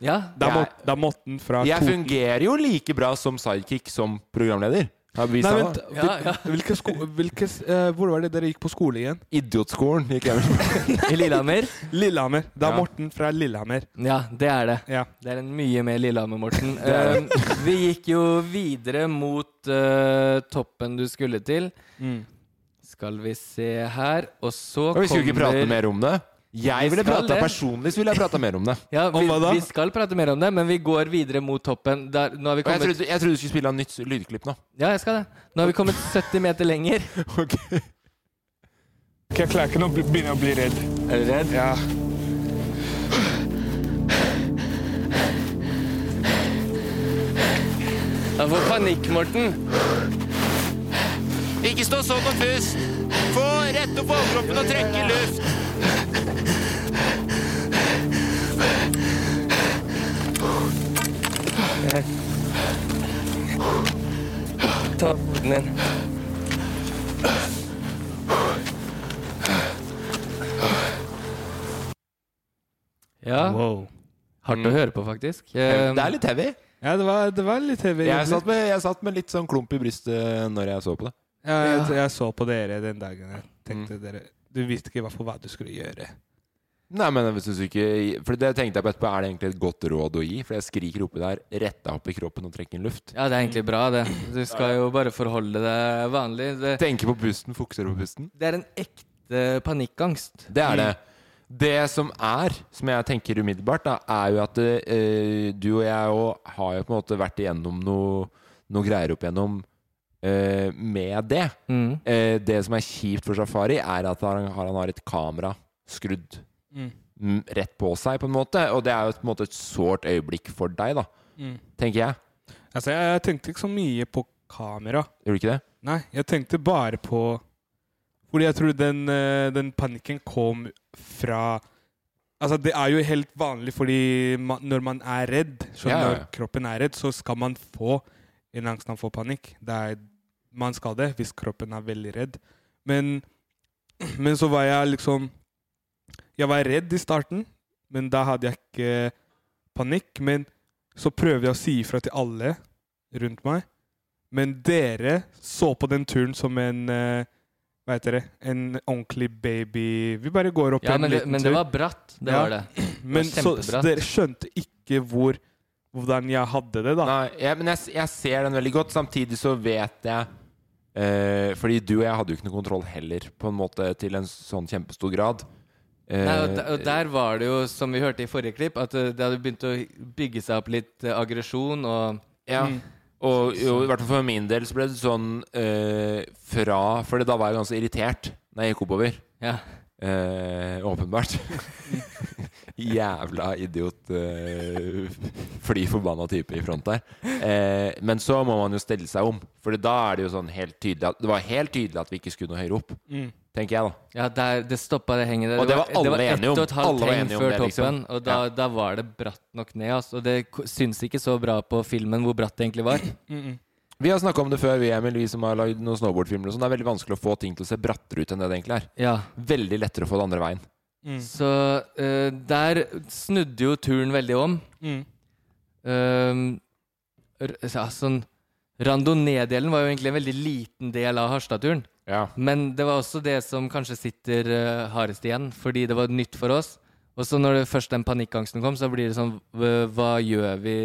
Speaker 1: Ja.
Speaker 4: Det er, Mort- det er Morten fra
Speaker 2: Jeg
Speaker 4: to-
Speaker 2: fungerer jo like bra som sidekick som programleder. Har vi
Speaker 4: Nei,
Speaker 2: vist
Speaker 4: vent.
Speaker 2: det?
Speaker 4: Hvil, Hvilke sko, hvilke, s- eh, hvor var det dere gikk på skole igjen?
Speaker 2: Idiotskolen gikk jeg vel på.
Speaker 1: I Lillehammer?
Speaker 4: Lillehammer. Det
Speaker 2: Ja.
Speaker 4: er Morten fra Lillehammer.
Speaker 1: Ja, det er det.
Speaker 4: Ja.
Speaker 1: Det er en mye mer Lillehammer, Morten.
Speaker 2: er
Speaker 1: Eh, vi gikk jo videre mot eh, toppen du skulle til. Skal vi se her, og så
Speaker 2: Mm. Og
Speaker 1: kommer
Speaker 2: vi skulle ikke prate mer om det. Jeg ville
Speaker 1: skal
Speaker 2: prata
Speaker 1: det.
Speaker 2: personlig, så ville jeg prata mer om det.
Speaker 1: Ja, vi,
Speaker 4: Om hva da?
Speaker 1: vi skal prate mer om det, men vi går videre mot toppen. Der, nå har vi
Speaker 2: Og jeg
Speaker 1: kommet
Speaker 2: trodde, jeg trodde du skulle spille av nytt lydklipp nå.
Speaker 1: Ja, jeg skal det. Nå har vi kommet 70 meter lenger.
Speaker 4: Jeg klarer ikke å begynne å bli redd.
Speaker 1: Er du redd?
Speaker 4: Ja.
Speaker 1: Jeg får panikk, Morten.
Speaker 2: Ikke stå sånn og pust! Få rett opp overkroppen og trekke luft!
Speaker 1: Ta foten din. Ja.
Speaker 4: Wow.
Speaker 1: Hardt å høre på, faktisk. Eh,
Speaker 2: Det er litt heavy.
Speaker 4: Ja, det var, det var litt heavy.
Speaker 2: Jeg satt, med, jeg satt med litt sånn klump i brystet når jeg så på det.
Speaker 4: Ja, jeg, jeg så på dere den dagen. Jeg tenkte dere Du visste ikke i hvert fall hva du skulle gjøre.
Speaker 2: Nei, men jeg synes ikke For det tenkte jeg på etterpå, er det egentlig et godt råd å gi? For jeg skriker oppi der, rett deg opp i kroppen og trekker inn luft.
Speaker 1: Ja, det er egentlig bra, det. Du skal jo bare forholde deg vanlig. Det,
Speaker 2: Tenker på pusten, fokuserer på pusten.
Speaker 1: det er en ekte panikkangst.
Speaker 2: Det er det. Det som er, som jeg tenker umiddelbart, da, er jo at eh, du og jeg òg har jo på en måte vært igjennom noe, noe greier opp igjennom eh, med det.
Speaker 1: Mm.
Speaker 2: Eh, det som er kjipt for Safari, er at han har, han har et kamera skrudd mm, rett på seg, på en måte. Og det er jo på en måte et sårt øyeblikk for deg, da,
Speaker 4: Mm.
Speaker 2: tenker jeg.
Speaker 4: Altså, jeg, jeg tenkte ikke så mye på kamera.
Speaker 2: Gjør du ikke det?
Speaker 4: Nei, jeg tenkte bare på Fordi jeg tror den, eh, den panikken kom fra Altså, det er jo helt vanlig fordi man, når man er redd,
Speaker 2: Ja,
Speaker 4: så
Speaker 2: ja, ja.
Speaker 4: når kroppen er redd, så skal man få en angst når man får panikk. Det er, man skal det hvis kroppen er veldig redd. Men, men så var jeg liksom Jeg var redd i starten, men da hadde jeg ikke panikk. Men så prøvde jeg å si ifra til alle rundt meg. Men dere så på den turen som en eh, Hva heter det? En ordentlig baby Vi bare går opp
Speaker 1: Ja,
Speaker 4: en
Speaker 1: men det,
Speaker 4: liten
Speaker 1: men det
Speaker 4: tur.
Speaker 1: var bratt. Det
Speaker 4: Ja.
Speaker 1: var
Speaker 2: Eh.
Speaker 1: det.
Speaker 4: men så,
Speaker 1: kjempebratt.
Speaker 4: så dere skjønte ikke hvor, hvordan jeg hadde det, da.
Speaker 2: Nei, jeg, men jeg, jeg ser den veldig godt. Samtidig så vet jeg eh, Fordi du og jeg hadde jo ikke noe kontroll heller, på en måte, til en sånn kjempestor grad. Eh,
Speaker 1: Nei, og, der, og der var det jo, som vi hørte i forrige klipp, at eh, det hadde begynt å bygge seg opp litt eh, aggresjon og
Speaker 2: Eh, Ja.
Speaker 1: Mm.
Speaker 2: Og jo, i hvert fall for min del så ble det sånn eh, fra For da var jeg ganske irritert da jeg gikk oppover.
Speaker 1: Ja.
Speaker 2: Eh, åpenbart. Jævla idiot eh, fly forbanna type i front der. Eh, men så må man jo stelle seg om. For da er det jo sånn helt tydelig at, Det var helt tydelig at vi ikke skulle noe høyere opp.
Speaker 1: Mm.
Speaker 2: Tenker jeg, da.
Speaker 1: Ja, der, det stoppa det henget der.
Speaker 2: Og det var alle
Speaker 1: det var
Speaker 2: enige om.
Speaker 1: Ett og et halvt
Speaker 2: Alle var
Speaker 1: heng
Speaker 2: enige om
Speaker 1: før
Speaker 2: det, liksom.
Speaker 1: toppen, og da, da var det bratt nok ned. ass. Og det ko- syns ikke så bra på filmen hvor bratt det egentlig var.
Speaker 2: Vi har snakka om det før, vi, Emil, vi som har lagd noen snowboardfilmer. og sånn. Det er veldig vanskelig å få ting til å se brattere ut enn det det egentlig er.
Speaker 1: Ja.
Speaker 2: Veldig lettere å få det andre veien.
Speaker 1: Så eh, der snudde jo turen veldig om.
Speaker 4: Mm.
Speaker 1: Ehm, r- ja, sånn Randonee-delen var jo egentlig en veldig liten del av Harstad-turen. Men det var også det som kanskje sitter eh, hardest igjen, fordi det var nytt for oss. Og så når det først den panikkangsten kom, så blir det sånn hva- Hva gjør vi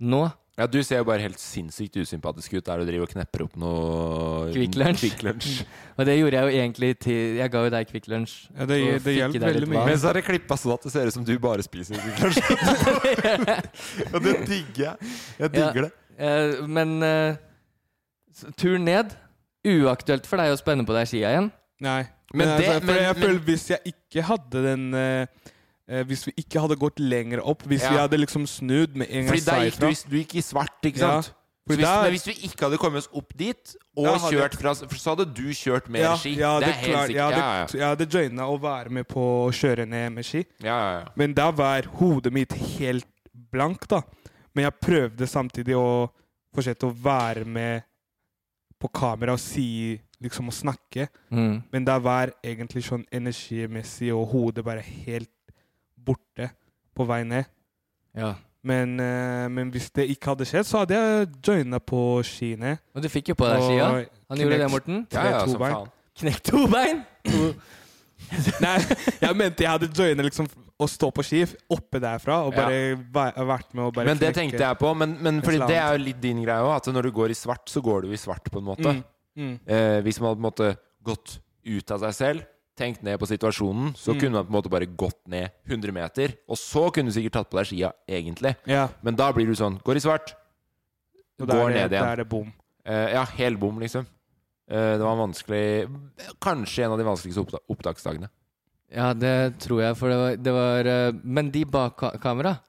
Speaker 1: nå?
Speaker 2: Ja, Du ser jo bare helt sinnssykt usympatisk ut der du driver og knepper opp noe
Speaker 1: Kvikk Lunsj.
Speaker 2: Kvikk Lunsj.
Speaker 1: Og det gjorde jeg jo egentlig til Jeg ga jo deg Kvikk Lunsj.
Speaker 4: Ja, det-
Speaker 1: og
Speaker 4: det
Speaker 1: fikk
Speaker 4: hjelper
Speaker 1: i deg litt
Speaker 4: veldig mye.
Speaker 1: vann.
Speaker 2: Men så er det klippa sånn at det ser ut som du bare spiser Kvikk Lunsj. og det digger jeg. Jeg digger det.
Speaker 1: Eh, men eh, s- tur ned Uaktuelt for deg å spenne på deg skia igjen.
Speaker 4: Nei. Men,
Speaker 1: Men det-
Speaker 4: altså, for
Speaker 1: men-
Speaker 4: jeg
Speaker 1: men-
Speaker 4: føler hvis jeg ikke hadde den eh, eh, Hvis vi ikke hadde gått lenger opp, hvis
Speaker 2: Ja.
Speaker 4: vi hadde liksom snudd med en gang
Speaker 2: Fordi der
Speaker 4: jeg
Speaker 2: gikk
Speaker 4: sa
Speaker 2: du,
Speaker 4: ifra.
Speaker 2: i- du gikk i svart, ikke
Speaker 4: Ja.
Speaker 2: sant?
Speaker 4: For
Speaker 2: Så hvis,
Speaker 4: der-
Speaker 2: men hvis vi ikke hadde kommet oss opp dit, og
Speaker 4: Da hadde-
Speaker 2: kjørt fra for Så hadde du kjørt mer
Speaker 4: Ja,
Speaker 2: ski.
Speaker 4: ja,
Speaker 2: det er helt
Speaker 4: klart.
Speaker 2: sikkert.
Speaker 4: Jeg hadde,
Speaker 2: Ja, ja.
Speaker 4: jeg hadde joina å være med på å kjøre ned med ski.
Speaker 2: Ja, ja, ja.
Speaker 4: Men da var hodet mitt helt blankt, da. Men jeg prøvde samtidig å fortsette å være med på kamera og si Liksom å snakke.
Speaker 1: Mm.
Speaker 4: Men da var egentlig sånn energimessig og hodet bare helt borte på vei ned.
Speaker 1: Ja.
Speaker 4: Men, eh, men hvis det ikke hadde skjedd, så hadde jeg joina på skiene.
Speaker 1: Og du fikk jo på deg skia.
Speaker 4: Og
Speaker 1: Han gjorde
Speaker 4: knekt-
Speaker 1: det, Morten.
Speaker 4: knekt to bein.
Speaker 1: Knekk to bein!
Speaker 4: Nei, jeg mente jeg hadde joina liksom å stå på ski oppe derfra og bare væ- vært med og bare
Speaker 2: Men det
Speaker 4: knekke
Speaker 2: tenkte jeg på. Men, men
Speaker 4: et
Speaker 2: fordi
Speaker 4: eller
Speaker 2: det
Speaker 4: annet.
Speaker 2: er jo litt din greie òg, at når du går i svart, så går du i svart, på en måte.
Speaker 4: Mm, mm.
Speaker 2: Eh, hvis man hadde på en måte gått ut av seg selv, tenkt ned på situasjonen, så
Speaker 4: Mm.
Speaker 2: kunne man på en måte bare gått ned 100 meter. Og så kunne du sikkert tatt på deg skia, egentlig.
Speaker 4: Ja.
Speaker 2: Men da blir du sånn Går i svart.
Speaker 4: Og da er
Speaker 2: Går
Speaker 4: det-
Speaker 2: ned
Speaker 4: da er
Speaker 2: igjen.
Speaker 4: det bom.
Speaker 2: Eh, ja, hel bom, liksom. Eh, det var vanskelig Kanskje en av de vanskeligste oppta opptaksdagene.
Speaker 1: Ja, det tror jeg, for det var, det var eh, Men de bak ka kamera,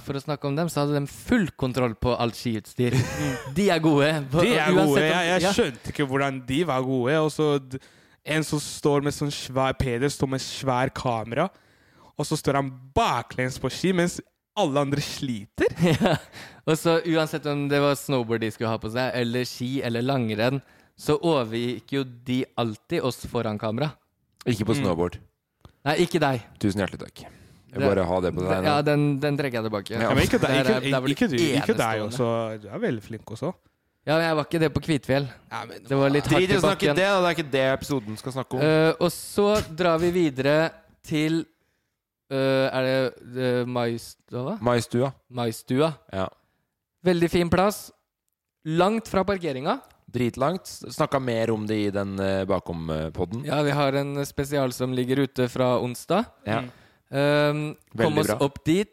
Speaker 1: for å snakke om dem, så hadde de full kontroll på alt skiutstyr. De er gode. på-
Speaker 4: Mm. De er
Speaker 1: uansett om-
Speaker 4: gode. Jeg, jeg
Speaker 1: ja.
Speaker 4: skjønte ikke hvordan de var gode. Og så d- en som står med sånn svær Peder står med svær kamera, og så står han baklengs på ski mens alle andre sliter.
Speaker 1: Ja. Og så uansett om det var snowboard de skulle ha på seg, eller ski eller langrenn, så overgikk jo de alltid oss foran kamera.
Speaker 2: Ikke på
Speaker 1: Mm.
Speaker 2: snowboard.
Speaker 1: Nei, ikke deg.
Speaker 2: Tusen hjertelig takk. Jeg
Speaker 1: Det-
Speaker 2: bare ha det på deg.
Speaker 1: Ja, den, den trekker jeg tilbake.
Speaker 2: Ja,
Speaker 4: Ja, men ikke deg,
Speaker 1: Der er-
Speaker 4: ikke,
Speaker 1: der var
Speaker 4: ikke, du, ikke deg
Speaker 1: enestående.
Speaker 4: også. Du er veldig flink også.
Speaker 1: Ja, men jeg var ikke det på Kvitfjell. det var litt
Speaker 2: Drit
Speaker 1: hardt
Speaker 2: i
Speaker 1: i
Speaker 2: å snakke det, da.
Speaker 1: bakken.
Speaker 2: Det er ikke det episoden skal snakke om.
Speaker 1: Eh, og så drar vi videre til eh, Er det uh, Maistua?
Speaker 2: Maistua.
Speaker 1: Maistua.
Speaker 2: Ja.
Speaker 1: Veldig fin plass. Langt fra parkeringa.
Speaker 2: Dritlangt. Snakka mer om det i den eh, bakom-podden.
Speaker 1: Ja, vi har en spesial som ligger ute fra onsdag.
Speaker 2: Ja.
Speaker 1: Um, kom
Speaker 2: Veldig
Speaker 1: oss
Speaker 2: bra.
Speaker 1: opp dit.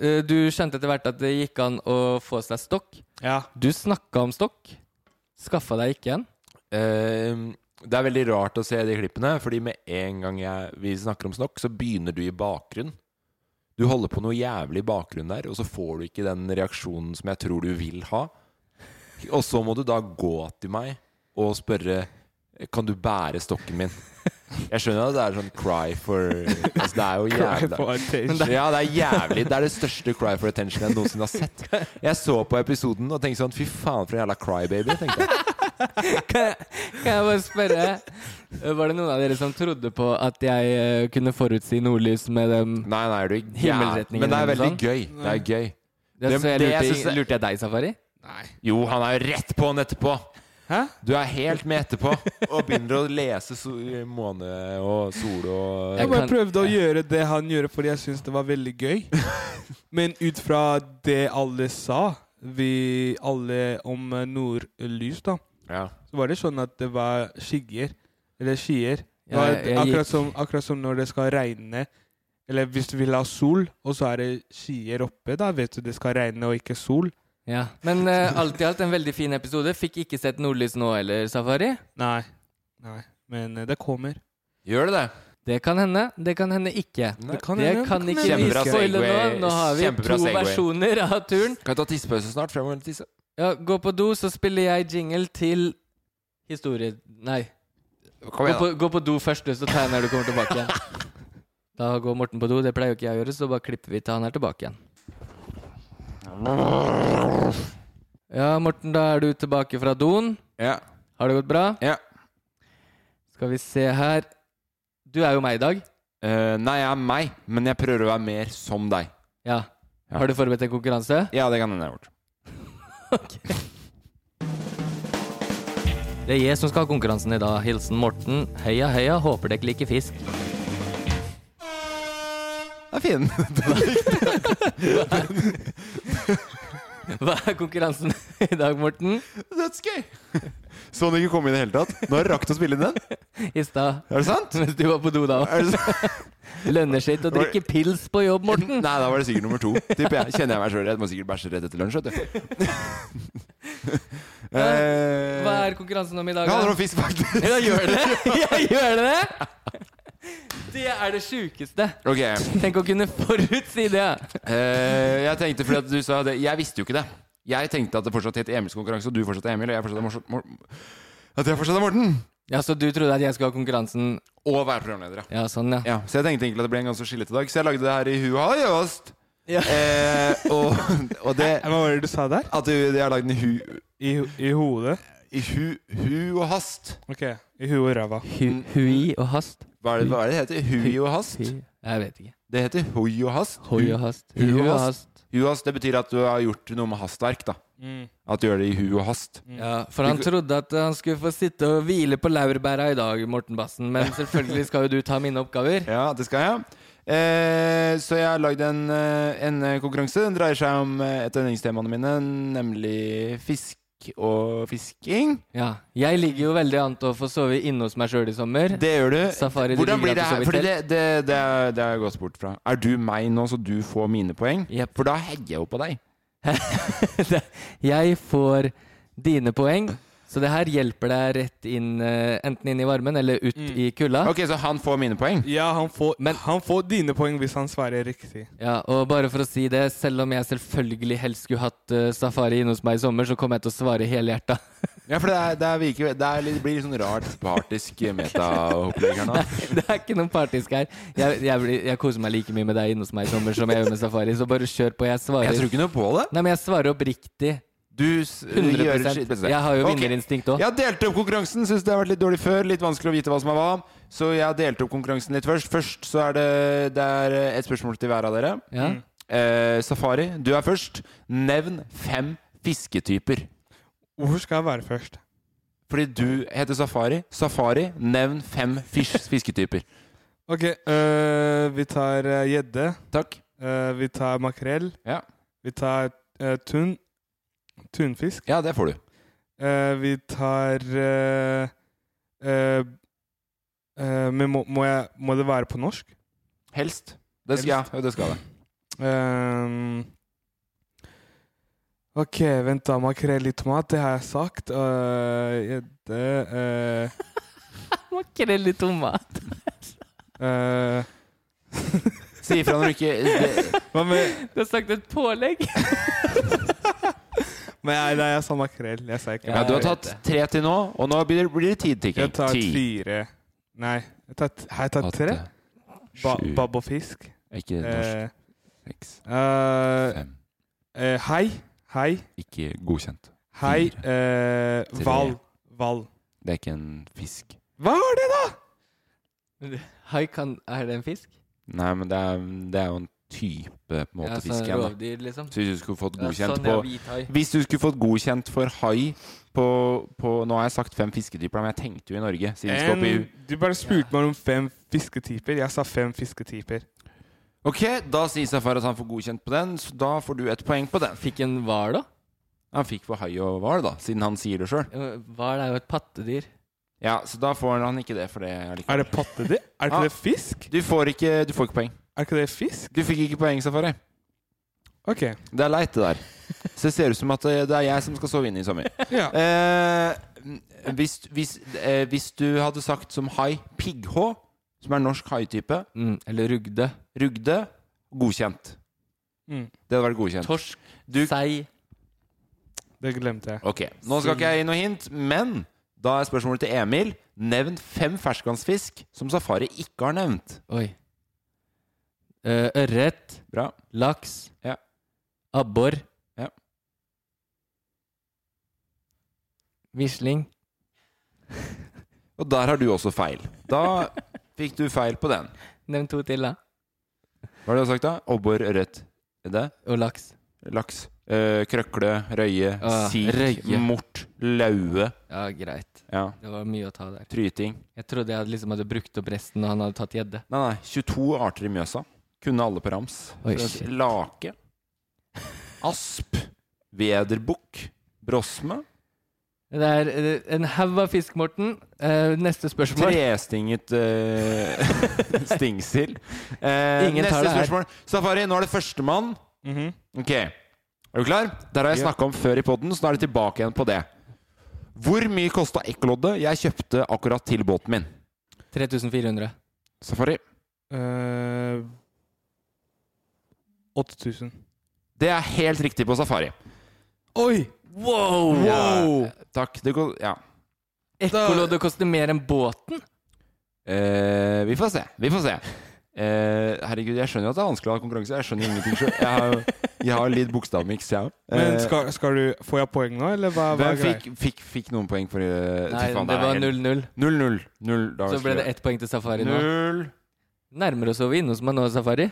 Speaker 1: Uh, du skjønte etter hvert at det gikk an å få seg stokk.
Speaker 4: Ja.
Speaker 1: Du snakka om stokk. Skaffa deg ikke en.
Speaker 2: Eh, det er veldig rart å se de klippene, fordi med en gang jeg, vi snakker om snokk, så begynner du i bakgrunn. Du holder på noe jævlig i bakgrunnen der, og så får du ikke den reaksjonen som jeg tror du vil ha. Og så må du da gå til meg og spørre Kan du bære stokken min? Jeg skjønner at det er sånn cry for altså Det er jo
Speaker 4: Cry
Speaker 2: jævlig
Speaker 4: for attention.
Speaker 2: Ja, det er jævlig. Det er det største cry for attention jeg noensinne har sett. Jeg så på episoden og tenkte sånn Fy faen, for en jævla crybaby. tenkte jeg.
Speaker 1: Kan jeg, kan jeg bare spørre uh, Var det noen av dere som trodde på at jeg uh, kunne forutsi nordlys med dem?
Speaker 2: Nei, nei, er du gæren?
Speaker 1: Himmelretningen
Speaker 2: Men det er
Speaker 1: eller
Speaker 2: veldig
Speaker 1: noe sånt?
Speaker 2: gøy. Det er gøy.
Speaker 1: Det,
Speaker 2: Det-
Speaker 1: så jeg
Speaker 2: det
Speaker 1: lurte,
Speaker 2: jeg synes-
Speaker 1: lurte jeg deg, Safari?
Speaker 2: Jo, han er jo rett på'n etterpå.
Speaker 4: Hæ?
Speaker 2: Du er helt med etterpå og begynner å lese so måne og sol og
Speaker 4: Jeg bare
Speaker 1: kan-
Speaker 4: prøvde å gjøre det han gjorde fordi jeg syntes det var veldig gøy. Men ut fra det alle sa, vi alle om eh, nordlys, da,
Speaker 2: Ja.
Speaker 4: så var det sånn at det var skygger. Eller skyer. Det var
Speaker 1: Jeg- jeg gikk-
Speaker 4: akkurat, som, akkurat som når det skal regne, eller hvis du vil ha sol, og så er det skyer oppe, da vet du det skal regne og ikke sol.
Speaker 1: Ja. Men eh, alt i alt en veldig fin episode. Fikk ikke sett nordlys nå heller, Safari.
Speaker 4: Nei. Nei. Men eh, det kommer.
Speaker 2: Gjør det det?
Speaker 1: Det kan hende, det kan hende ikke.
Speaker 4: Det kan
Speaker 1: det
Speaker 4: hende,
Speaker 1: kan
Speaker 4: det kan
Speaker 1: ikke
Speaker 4: hende.
Speaker 1: vi
Speaker 2: Kjempebra
Speaker 1: spoile nå.
Speaker 2: segway.
Speaker 1: Nå har vi
Speaker 2: Kjempebra
Speaker 1: to
Speaker 2: segway.
Speaker 1: versjoner av turen.
Speaker 2: Kan vi ta tissepause snart? Fremover eller tisse?
Speaker 1: Ja, gå på do, så spiller jeg jingle til historie... Nei.
Speaker 2: Kom igjen,
Speaker 1: gå, på, gå på do først, du, så tar jeg når du kommer tilbake igjen. Da går Morten på do, det pleier jo ikke jeg å gjøre, så bare klipper vi til han er tilbake igjen. Ja, Morten, da er du tilbake fra doen.
Speaker 2: Ja.
Speaker 1: Har det gått bra?
Speaker 2: Ja.
Speaker 1: Skal vi se her Du er jo meg i dag.
Speaker 2: Eh, nei, jeg er meg, men jeg prøver å være mer som deg.
Speaker 1: Ja. Har du forberedt en konkurranse?
Speaker 2: Ja, det kan hende jeg har gjort.
Speaker 1: Det er jeg som skal ha konkurransen i dag. Hilsen Morten. Heia, heia, håper dere liker fisk.
Speaker 2: Det er fin.
Speaker 1: Hva er konkurransen i dag, Morten?
Speaker 2: Dødsgøy! Så den Sånn ikke kom inn i det hele tatt? Nå har jeg rakt å spille inn den.
Speaker 1: I stad.
Speaker 2: Er det sant?
Speaker 1: Mens du var på do, da.
Speaker 2: Er det sant?
Speaker 1: Lønner seg ikke å drikke pils på jobb, Morten.
Speaker 2: Nei, da var det sikkert nummer to. Tipper jeg. Kjenner jeg meg sjøl. Jeg må sikkert bæsje rett etter lunsj, vet du. Eh,
Speaker 1: Hva er konkurransen om i dag?
Speaker 2: Det handler
Speaker 1: da?
Speaker 2: om fisk, faktisk.
Speaker 1: Ja, gjør det Jeg gjør det! Det er det sjukeste.
Speaker 2: Ok.
Speaker 1: Tenk å kunne forutsi det.
Speaker 2: Eh, jeg tenkte fordi at du sa det Jeg visste jo ikke det. Jeg tenkte at det fortsatt het Emils konkurranse, og du fortsatt er Emil, og jeg fortsatt er Morten. Mor at jeg fortsatt er Morten.
Speaker 1: Ja, Så du trodde at jeg skulle ha konkurransen?
Speaker 2: Og være programleder, ja.
Speaker 1: Ja, sånn, ja.
Speaker 2: ja. Så jeg tenkte egentlig at det ble en ganske skillete dag, så jeg lagde det her i huet og hast.
Speaker 1: Ja.
Speaker 2: Eh, og, og det
Speaker 4: Hva var det du sa der?
Speaker 2: At du, jeg har lagd den i hu...
Speaker 4: I, ho- i hodet?
Speaker 2: I hu, hu og hast.
Speaker 4: Ok. I huet og ræva.
Speaker 1: Hu- Hui og hast.
Speaker 2: Hva er det hva er det det heter? Hui og hast?
Speaker 1: Hui. Jeg vet ikke.
Speaker 2: Det heter hoi og hast.
Speaker 1: Hoi og hast.
Speaker 2: Hu og
Speaker 1: Hu og
Speaker 2: hast.
Speaker 1: hast.
Speaker 2: Hu og hast, Det betyr at du har gjort noe med hastverk. da At du gjør det i hu og hast.
Speaker 1: Ja, for han
Speaker 2: Du-
Speaker 1: trodde at han skulle få sitte og hvile på laurbæra i dag, Morten Bassen. Men selvfølgelig skal jo du ta mine oppgaver.
Speaker 2: Ja, det skal jeg. Eh, så jeg har lagd en, eh, en eh, konkurranse. Den dreier seg om eh, et av yndlingstemaene mine, nemlig fisk og fisking.
Speaker 1: Ja, Jeg ligger jo veldig an til å få sove inne hos meg sjøl i sommer.
Speaker 2: Det gjør du.
Speaker 1: Safari, du
Speaker 2: Hvordan
Speaker 1: ligger
Speaker 2: blir
Speaker 1: der
Speaker 2: det
Speaker 1: for så
Speaker 2: her?
Speaker 1: vidt
Speaker 2: Fordi det,
Speaker 1: helt.
Speaker 2: det, det, er- det har jeg gått bort fra. Er du meg nå, så du får mine poeng?
Speaker 1: Jep.
Speaker 2: For da heier jeg jo på deg.
Speaker 1: Jeg får dine poeng, så det her hjelper deg rett inn, eh, enten inn i varmen eller ut i kulda.
Speaker 2: Mm. Ok, Så han får mine poeng?
Speaker 4: Ja, han får,
Speaker 1: Men-
Speaker 4: han får dine poeng hvis han svarer riktig.
Speaker 1: Ja, og bare for å si det, selv om jeg selvfølgelig helst skulle hatt eh, safari inne hos meg i sommer, så kommer jeg til å svare helhjerta.
Speaker 2: Ja, for det, er, det, er virker, det, er litt, det blir litt sånn rart partisk metaopplegg her nå.
Speaker 1: Det er ikke noen partisk her. Jeg, jeg, blir- jeg koser meg like mye med deg inne hos meg i sommer som jeg gjør med safari, så bare kjør på. Jeg svarer
Speaker 2: Jeg tror ikke noe på det.
Speaker 1: Nei, men jeg svarer oppriktig.
Speaker 2: Du s- gjør
Speaker 1: 100
Speaker 2: sitt beste.
Speaker 1: Jeg har jo
Speaker 2: Ok.
Speaker 1: vinnerinstinkt òg.
Speaker 2: Jeg har delt opp konkurransen. Syns det har vært litt dårlig før. Litt vanskelig å vite hva som er hva. Så jeg har delt opp konkurransen litt først. Først så er det, det er et spørsmål til hver av dere.
Speaker 1: Ja.
Speaker 2: Eh, Safari, du er først. Nevn fem fisketyper.
Speaker 4: Hvorfor skal jeg være først?
Speaker 2: Fordi du heter Safari. Safari, nevn fem fis- fisketyper.
Speaker 4: Ok, øh, vi tar øh, gjedde.
Speaker 2: Takk.
Speaker 4: øh, vi tar makrell.
Speaker 2: Ja.
Speaker 4: Vi tar øh, tun. Tunfisk.
Speaker 2: Ja, det får du.
Speaker 4: Eh, vi tar eh, eh, eh, Men må, må, jeg, må det være på norsk?
Speaker 2: Helst. Det skal,
Speaker 4: Helst.
Speaker 2: Ja, det skal det.
Speaker 4: Ehm, OK, vent da. Makrell i tomat, det har jeg sagt. Eh, Gjedde eh,
Speaker 1: Makrell i tomat.
Speaker 4: eh,
Speaker 2: Si ifra når du ikke det,
Speaker 4: Hva med
Speaker 1: Du har sagt et pålegg.
Speaker 4: Men jeg, nei, jeg sa makrell. Jeg sa ikke
Speaker 2: ja, Du har
Speaker 4: makrell.
Speaker 2: tatt tre til nå, og nå blir det, blir det tid til.
Speaker 4: Jeg tar fire Nei, jeg tar, t- har jeg tatt tre? Ba,
Speaker 2: sju.
Speaker 4: babb og fisk.
Speaker 2: Ikke norsk.
Speaker 4: Eh,
Speaker 2: Seks.
Speaker 4: eh,
Speaker 2: Fem.
Speaker 4: eh, hei. Hei.
Speaker 2: Ikke godkjent.
Speaker 4: Hei,
Speaker 2: Fire.
Speaker 4: eh,
Speaker 2: Tre.
Speaker 4: Val. Val.
Speaker 2: Det er ikke en fisk.
Speaker 4: Hva var det, da?!
Speaker 1: Hai, kan Er det en fisk?
Speaker 2: Nei, men det er, det er jo en type på en måte
Speaker 1: Ja, sånn
Speaker 2: fisk igjen. da.
Speaker 1: rovdyr, liksom.
Speaker 2: Så hvis du skulle fått
Speaker 1: Ja,
Speaker 2: godkjent
Speaker 1: sånn, ja,
Speaker 2: på
Speaker 1: hvit hai.
Speaker 2: Hvis du skulle fått godkjent for hai på, på Nå har jeg sagt fem fisketyper, men jeg tenkte jo i Norge. Siden vi skal opp i
Speaker 4: En, du bare spurte meg om fem fisketyper. Jeg sa fem fisketyper.
Speaker 2: Ok, da sier Safar at han får godkjent på den, så da får du et poeng på den.
Speaker 1: Fikk en hval, da?
Speaker 2: Han fikk for hai og hval, da, siden han sier det sjøl.
Speaker 1: Eh, Hval er jo et pattedyr.
Speaker 2: Ja, så da får han ikke det for det.
Speaker 4: Er det pattedyr? Er
Speaker 2: Ah.
Speaker 4: ikke det fisk?
Speaker 2: Du får ikke, du får ikke poeng.
Speaker 4: Er ikke det fisk?
Speaker 2: Du fikk ikke poeng, Safari.
Speaker 4: Ok.
Speaker 2: Det er leit, det der. Så det ser ut som at eh, det er jeg som skal sove inne i sommer.
Speaker 4: Ja.
Speaker 2: Eh, hvis, hvis, eh, hvis du hadde sagt som hai pigghå, som er norsk haitype
Speaker 1: Eller rugde.
Speaker 2: Mm, Rugde. Godkjent.
Speaker 4: Mm.
Speaker 2: Det hadde vært godkjent.
Speaker 1: Torsk,
Speaker 2: Du-
Speaker 1: sei
Speaker 4: Det glemte jeg.
Speaker 2: Ok, Nå skal ikke jeg gi noe hint, men da er spørsmålet til Emil. Nevn fem ferskvannsfisk som Safari ikke har nevnt.
Speaker 1: Oi. Eh, ørret.
Speaker 2: Bra.
Speaker 1: Laks.
Speaker 2: Ja.
Speaker 1: Abbor.
Speaker 2: Ja.
Speaker 1: Wisling.
Speaker 2: Og der har du også feil. Da fikk du feil på den.
Speaker 1: Nevn to til, da.
Speaker 2: Hva er det du har sagt, da? Abbor, ørret, er det?
Speaker 1: Og laks.
Speaker 2: laks, eh, krøkle, røye,
Speaker 1: Ah,
Speaker 2: sik,
Speaker 1: røye.
Speaker 2: mort, laue.
Speaker 1: Ja, greit.
Speaker 2: Ja,
Speaker 1: Det var mye å ta der.
Speaker 2: tryting.
Speaker 1: Jeg trodde jeg hadde liksom hadde brukt opp resten, og han hadde tatt gjedde.
Speaker 2: Nei, nei. 22 arter i Mjøsa. Kunne alle på rams. Så
Speaker 1: Oi,
Speaker 2: det er
Speaker 1: shit.
Speaker 2: Lake. Asp. Vederbukk. Brosme.
Speaker 1: Det er eh, en haug av fisk, Morten. Eh, neste spørsmål.
Speaker 2: Trestinget eh, stingsild. Eh,
Speaker 1: Ingen
Speaker 2: neste
Speaker 1: tar det her. Mhm.
Speaker 2: spørsmål. Safari, nå er det førstemann. Ok, er du klar? Der har jeg snakket om før i podden, så nå er det tilbake igjen på det. Hvor mye kosta ekkoloddet jeg kjøpte akkurat til båten min?
Speaker 1: 3400.
Speaker 2: Safari.
Speaker 4: Eh, 8000.
Speaker 2: Det er helt riktig på safari.
Speaker 4: Oi!
Speaker 1: Wow!
Speaker 2: Ja, takk. Det går Ja.
Speaker 1: Ekkoloddet koster mer enn båten.
Speaker 2: Eh, vi får se. Vi får se. Eh, herregud, jeg skjønner jo at det er vanskelig å ha konkurranse. Jeg skjønner ingenting sjøl. Jeg, har- jeg har litt bokstavmiks, jeg Eh, òg.
Speaker 4: Men skal, skal du Får jeg poeng nå, eller hva,
Speaker 2: Hvem
Speaker 4: hva er greia?
Speaker 2: fikk, fikk, fikk noen poeng for eh,
Speaker 1: Nei,
Speaker 2: fy faen,
Speaker 1: det
Speaker 2: er
Speaker 1: var
Speaker 2: helt-
Speaker 1: 0-0.
Speaker 2: 0-0. Null, da
Speaker 1: Så ble det
Speaker 2: skulle-
Speaker 1: ett poeng til Safari nå.
Speaker 2: Null,
Speaker 1: Nærmer oss over innomsmann nå, Safari.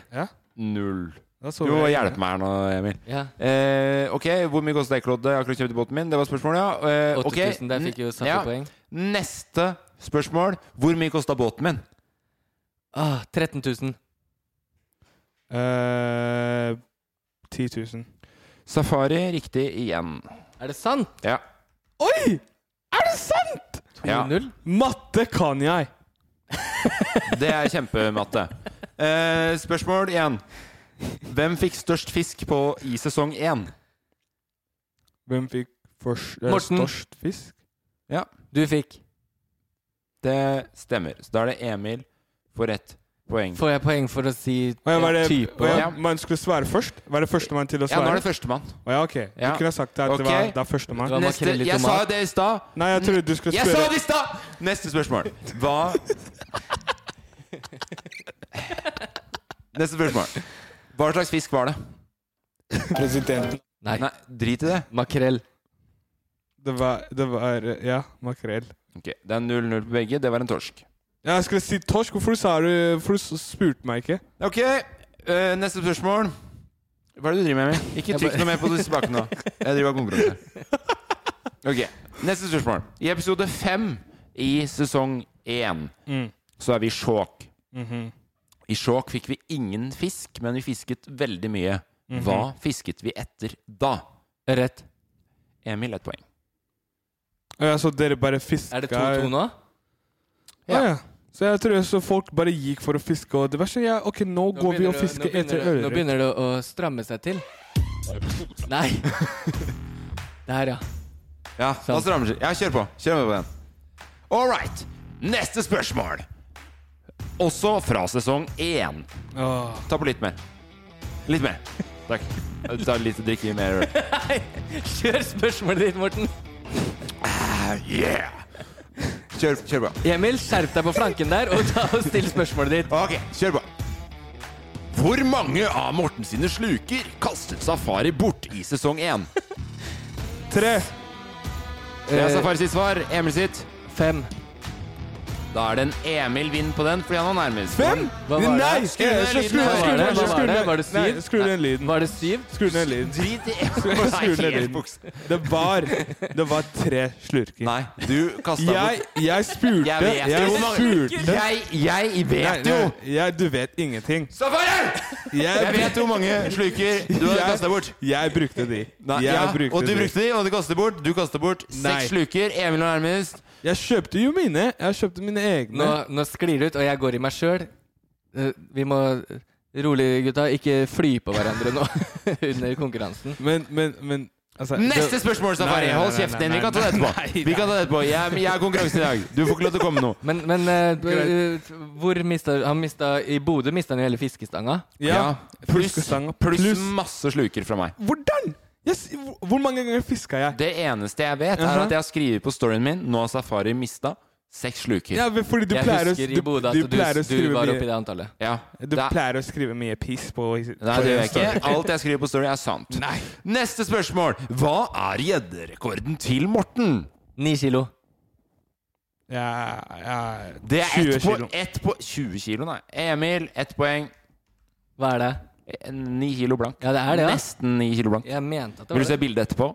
Speaker 2: null.
Speaker 4: Da så
Speaker 2: Du
Speaker 4: vi-
Speaker 2: må hjelpe meg her nå, Emil.
Speaker 1: Ja.
Speaker 2: Eh, ok, Hvor mye kostet ekkoloddet jeg akkurat kjøpte i båten min? Det var spørsmålet, ja. Eh,
Speaker 1: 8000,
Speaker 2: ok,
Speaker 1: der fikk jo Safari
Speaker 2: ja.
Speaker 1: poeng.
Speaker 2: Neste spørsmål. Hvor mye kosta båten min?
Speaker 1: Ah, 13 000.
Speaker 4: Eh, 10 000.
Speaker 2: Safari riktig igjen.
Speaker 1: Er det sant?
Speaker 2: Ja.
Speaker 4: Oi! Er det sant?!
Speaker 1: 2-0?
Speaker 2: Ja.
Speaker 4: Matte kan jeg!
Speaker 2: Det er kjempematte. Eh, spørsmål igjen. Hvem fikk størst fisk på i sesong én?
Speaker 4: Hvem fikk først eh,
Speaker 1: Morten.
Speaker 4: størst fisk?
Speaker 1: Du fikk.
Speaker 2: Det stemmer. Så da er det Emil får ett poeng.
Speaker 1: Får jeg poeng for å si
Speaker 4: Å ja, var det,
Speaker 1: type?
Speaker 4: å ja,
Speaker 2: Ja.
Speaker 4: man skulle svare først? Var det førstemann til å
Speaker 2: Ja, nå
Speaker 4: svare?
Speaker 2: er det førstemann.
Speaker 4: Å ja, ok. Du
Speaker 2: Ja.
Speaker 4: kunne ha sagt at
Speaker 2: Ok.
Speaker 4: det var da førstemann.
Speaker 1: var
Speaker 2: Neste,
Speaker 1: makrell i
Speaker 2: jeg sa
Speaker 1: tomat.
Speaker 2: jo det i stad.
Speaker 4: Nei, jeg trodde du skulle
Speaker 2: Jeg sa
Speaker 4: spørre.
Speaker 2: det i stad! Neste spørsmål. Hva Neste spørsmål. Hva slags fisk var det?
Speaker 5: Presidenten.
Speaker 1: Nei.
Speaker 2: Nei, drit i det.
Speaker 1: Makrell.
Speaker 4: Det var, det var eh, Ja, makrell.
Speaker 2: Ok, Det er 0-0 på begge. Det var en torsk.
Speaker 4: Ja, jeg skulle si torsk. Hvorfor sa du Hvorfor s- spurte meg ikke?
Speaker 2: Ok, eh, neste spørsmål. Hva er det du driver med, Emil? Ikke
Speaker 1: Jeg
Speaker 2: trykk
Speaker 1: bare-
Speaker 2: noe mer på disse bakene nå. Jeg driver og konkurranse. Ok, neste spørsmål. I episode fem i sesong én
Speaker 4: Mm.
Speaker 2: så er vi i Skjåk.
Speaker 4: Mhm.
Speaker 2: I Skjåk fikk vi ingen fisk, men vi fisket veldig mye.
Speaker 1: Mhm.
Speaker 2: Hva fisket vi etter da?
Speaker 1: Rett.
Speaker 2: Emil, ett poeng.
Speaker 4: Å ja, så dere bare fiska
Speaker 1: Er det 2-2 nå?
Speaker 4: Ja. ja. Så jeg tror så folk bare gikk for å fiske, og det var sånn ja, OK, nå, går vi og fisker etter
Speaker 1: ørret. Nå
Speaker 4: ørret.
Speaker 1: begynner det å stramme seg til. Nei. Der, ja.
Speaker 2: Ja, da strammer det seg. Ja, kjør på. Kjør med på den. All right. Neste spørsmål. Også fra sesong én.
Speaker 4: Åh.
Speaker 2: Ta på litt mer. Litt mer. Takk. Ta litt å drikke mer øl.
Speaker 1: Kjør spørsmålet ditt, Morten.
Speaker 2: Yeah! Kjør, kjør på.
Speaker 1: Emil, skjerp deg på flanken der og ta og still spørsmålet ditt.
Speaker 2: Ok, kjør på. Hvor mange av Morten sine sluker kastet Safari bort i sesong én?
Speaker 4: Tre!
Speaker 2: Det
Speaker 4: Eh.
Speaker 2: er Safari sitt svar. Emil sitt.
Speaker 1: Fem.
Speaker 2: Da er det en Emil vinn på den, fordi han var nærmest.
Speaker 4: Fem?
Speaker 1: Hva var
Speaker 4: Nei! Eh,
Speaker 1: det?
Speaker 4: Skru ned
Speaker 1: Hva var det?
Speaker 4: lyden! Skru ned- skru
Speaker 1: Hva
Speaker 4: ned-
Speaker 1: var
Speaker 4: skru
Speaker 1: det?
Speaker 4: ned-
Speaker 1: Var det syv?
Speaker 4: Nei, Skru ned lyden.
Speaker 1: Var det syv?
Speaker 4: Skru ned lyden.
Speaker 2: Drit i
Speaker 4: Skru ned
Speaker 2: Helt
Speaker 4: lyden.
Speaker 2: buks-
Speaker 4: Det var, det var tre slurker.
Speaker 2: Nei, du kasta
Speaker 4: Jeg,
Speaker 2: bort
Speaker 4: jeg spurte
Speaker 2: Jeg vet jo
Speaker 4: jeg
Speaker 2: hvor mange
Speaker 4: spurte-
Speaker 2: Jeg, jeg vet
Speaker 4: Nei,
Speaker 2: jo!
Speaker 4: nei, Jeg, du vet ingenting.
Speaker 2: Safari! Jeg vet hvor mange sluker du har
Speaker 4: Jeg-
Speaker 2: kasta bort.
Speaker 4: Jeg brukte de.
Speaker 2: Nei,
Speaker 4: jeg
Speaker 2: ja,
Speaker 4: brukte
Speaker 2: og du
Speaker 4: de.
Speaker 2: brukte de, og du kastet bort. Du kastet bort
Speaker 4: Nei.
Speaker 2: seks sluker. Emil var nærmest.
Speaker 4: Jeg kjøpte jo mine. Jeg kjøpte mine egne.
Speaker 1: Nå, nå sklir det ut, og jeg går i meg sjøl. Vi må eh, Rolig, gutta. Ikke fly på hverandre nå under konkurransen.
Speaker 4: Men, men, men altså,
Speaker 2: Neste spørsmål, Safari! Hold kjeften din. Vi kan ta det etterpå. Vi kan ta det etterpå. Jeg, jeg er konkurransen i dag. Du får ikke lov til å komme nå.
Speaker 1: Men, men eh, b- eh, hvor mista han mista, I Bodø mista han jo hele fiskestanga.
Speaker 2: Ja. Pluss pluss masse sluker fra meg.
Speaker 4: Hvordan?! Yes, hvor- hvor mange ganger fiska jeg?
Speaker 2: Det eneste jeg vet, er
Speaker 4: Jaha.
Speaker 2: at jeg har skrevet på storyen min Nå har Safari mista seks sluker.
Speaker 4: Ja, men fordi du
Speaker 1: Jeg
Speaker 4: pleier å-
Speaker 1: husker
Speaker 4: du-
Speaker 1: i Bodø at
Speaker 4: du
Speaker 1: du,
Speaker 4: pleier å
Speaker 1: du,
Speaker 4: skrive
Speaker 1: var
Speaker 4: mye.
Speaker 1: oppe i det antallet.
Speaker 2: Ja.
Speaker 4: Du
Speaker 2: Da-
Speaker 4: pleier å skrive mye piss på
Speaker 2: Nei, det gjør jeg ikke. Alt jeg skriver på story, er sant. Neste spørsmål. Hva er gjedderekorden til Morten?
Speaker 1: Ni kilo.
Speaker 4: Ja, ja,
Speaker 2: Det er
Speaker 4: 20
Speaker 2: ett på,
Speaker 4: kilo.
Speaker 2: ett på 20 kilo, nei. Emil, ett poeng.
Speaker 1: Hva er det?
Speaker 2: Ni kilo blank.
Speaker 1: Ja, det er det, ja.
Speaker 2: Nesten ni kilo blank.
Speaker 1: Jeg mente at det
Speaker 2: Vil du
Speaker 1: var
Speaker 2: se
Speaker 1: det.
Speaker 2: bildet etterpå?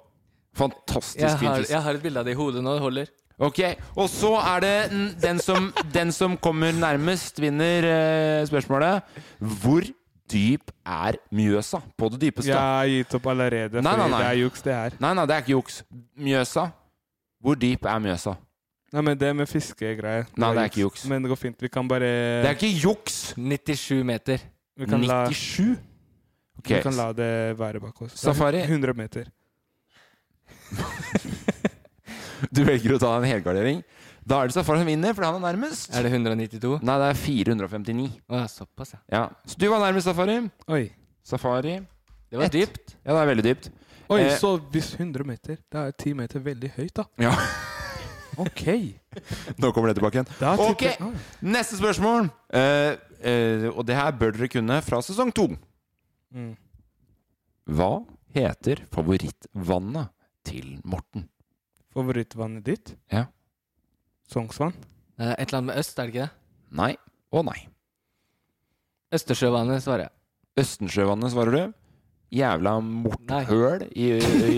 Speaker 2: Fantastisk
Speaker 1: Jeg har,
Speaker 2: fin fisk.
Speaker 1: jeg har et bilde av det i hodet nå. Det holder.
Speaker 2: Ok, Og så er det n- den som, den som kommer nærmest, vinner eh, spørsmålet. Hvor dyp er Mjøsa på det dypeste?
Speaker 4: Jeg har gitt opp
Speaker 2: Nei,
Speaker 4: allerede,
Speaker 2: nei,
Speaker 4: fordi
Speaker 2: nei.
Speaker 4: det er juks, det her.
Speaker 2: Nei, nei, det er ikke juks. Mjøsa. Hvor dyp er Mjøsa?
Speaker 4: Nei, men det med fiskegreier
Speaker 2: Nei, det er ikke juks.
Speaker 4: Men det går fint. Vi kan bare
Speaker 2: Det er ikke juks!
Speaker 1: 97 Eh, meter.
Speaker 4: vi kan la,
Speaker 2: 97? Ok,
Speaker 4: vi kan la det være bak oss.
Speaker 2: Safari?
Speaker 4: 100 meter.
Speaker 2: Du velger å ta en helgardering. Da er det Safari som vinner, for han er nærmest.
Speaker 1: Er det 192?
Speaker 2: Nei, det er 459.
Speaker 1: Å, ja, såpass, ja.
Speaker 2: Ja. Så du var nærmest, Safari.
Speaker 4: Oi.
Speaker 2: Safari.
Speaker 1: Det var
Speaker 2: Ett.
Speaker 1: dypt.
Speaker 2: Ja, det er veldig dypt.
Speaker 4: Oi,
Speaker 2: Eh,
Speaker 4: så hvis 100 meter Det er 10 meter veldig høyt, da.
Speaker 2: Ja,
Speaker 4: OK.
Speaker 2: Nå kommer det tilbake igjen.
Speaker 4: Da
Speaker 2: Ok.
Speaker 4: tipper- Oi.
Speaker 2: Neste spørsmål. Eh, eh, og det her bør dere kunne fra sesong to.
Speaker 4: Mm.
Speaker 2: Hva heter favorittvannet til Morten?
Speaker 4: Favorittvannet ditt?
Speaker 2: Ja.
Speaker 4: Sognsvann?
Speaker 1: Nei, det er Eh, Et eller annet med øst, er det ikke det?
Speaker 2: Nei og nei.
Speaker 1: Østersjøvannet, svarer jeg.
Speaker 2: Østensjøvannet, svarer du. Jævla
Speaker 1: Nei.
Speaker 2: morthøl i,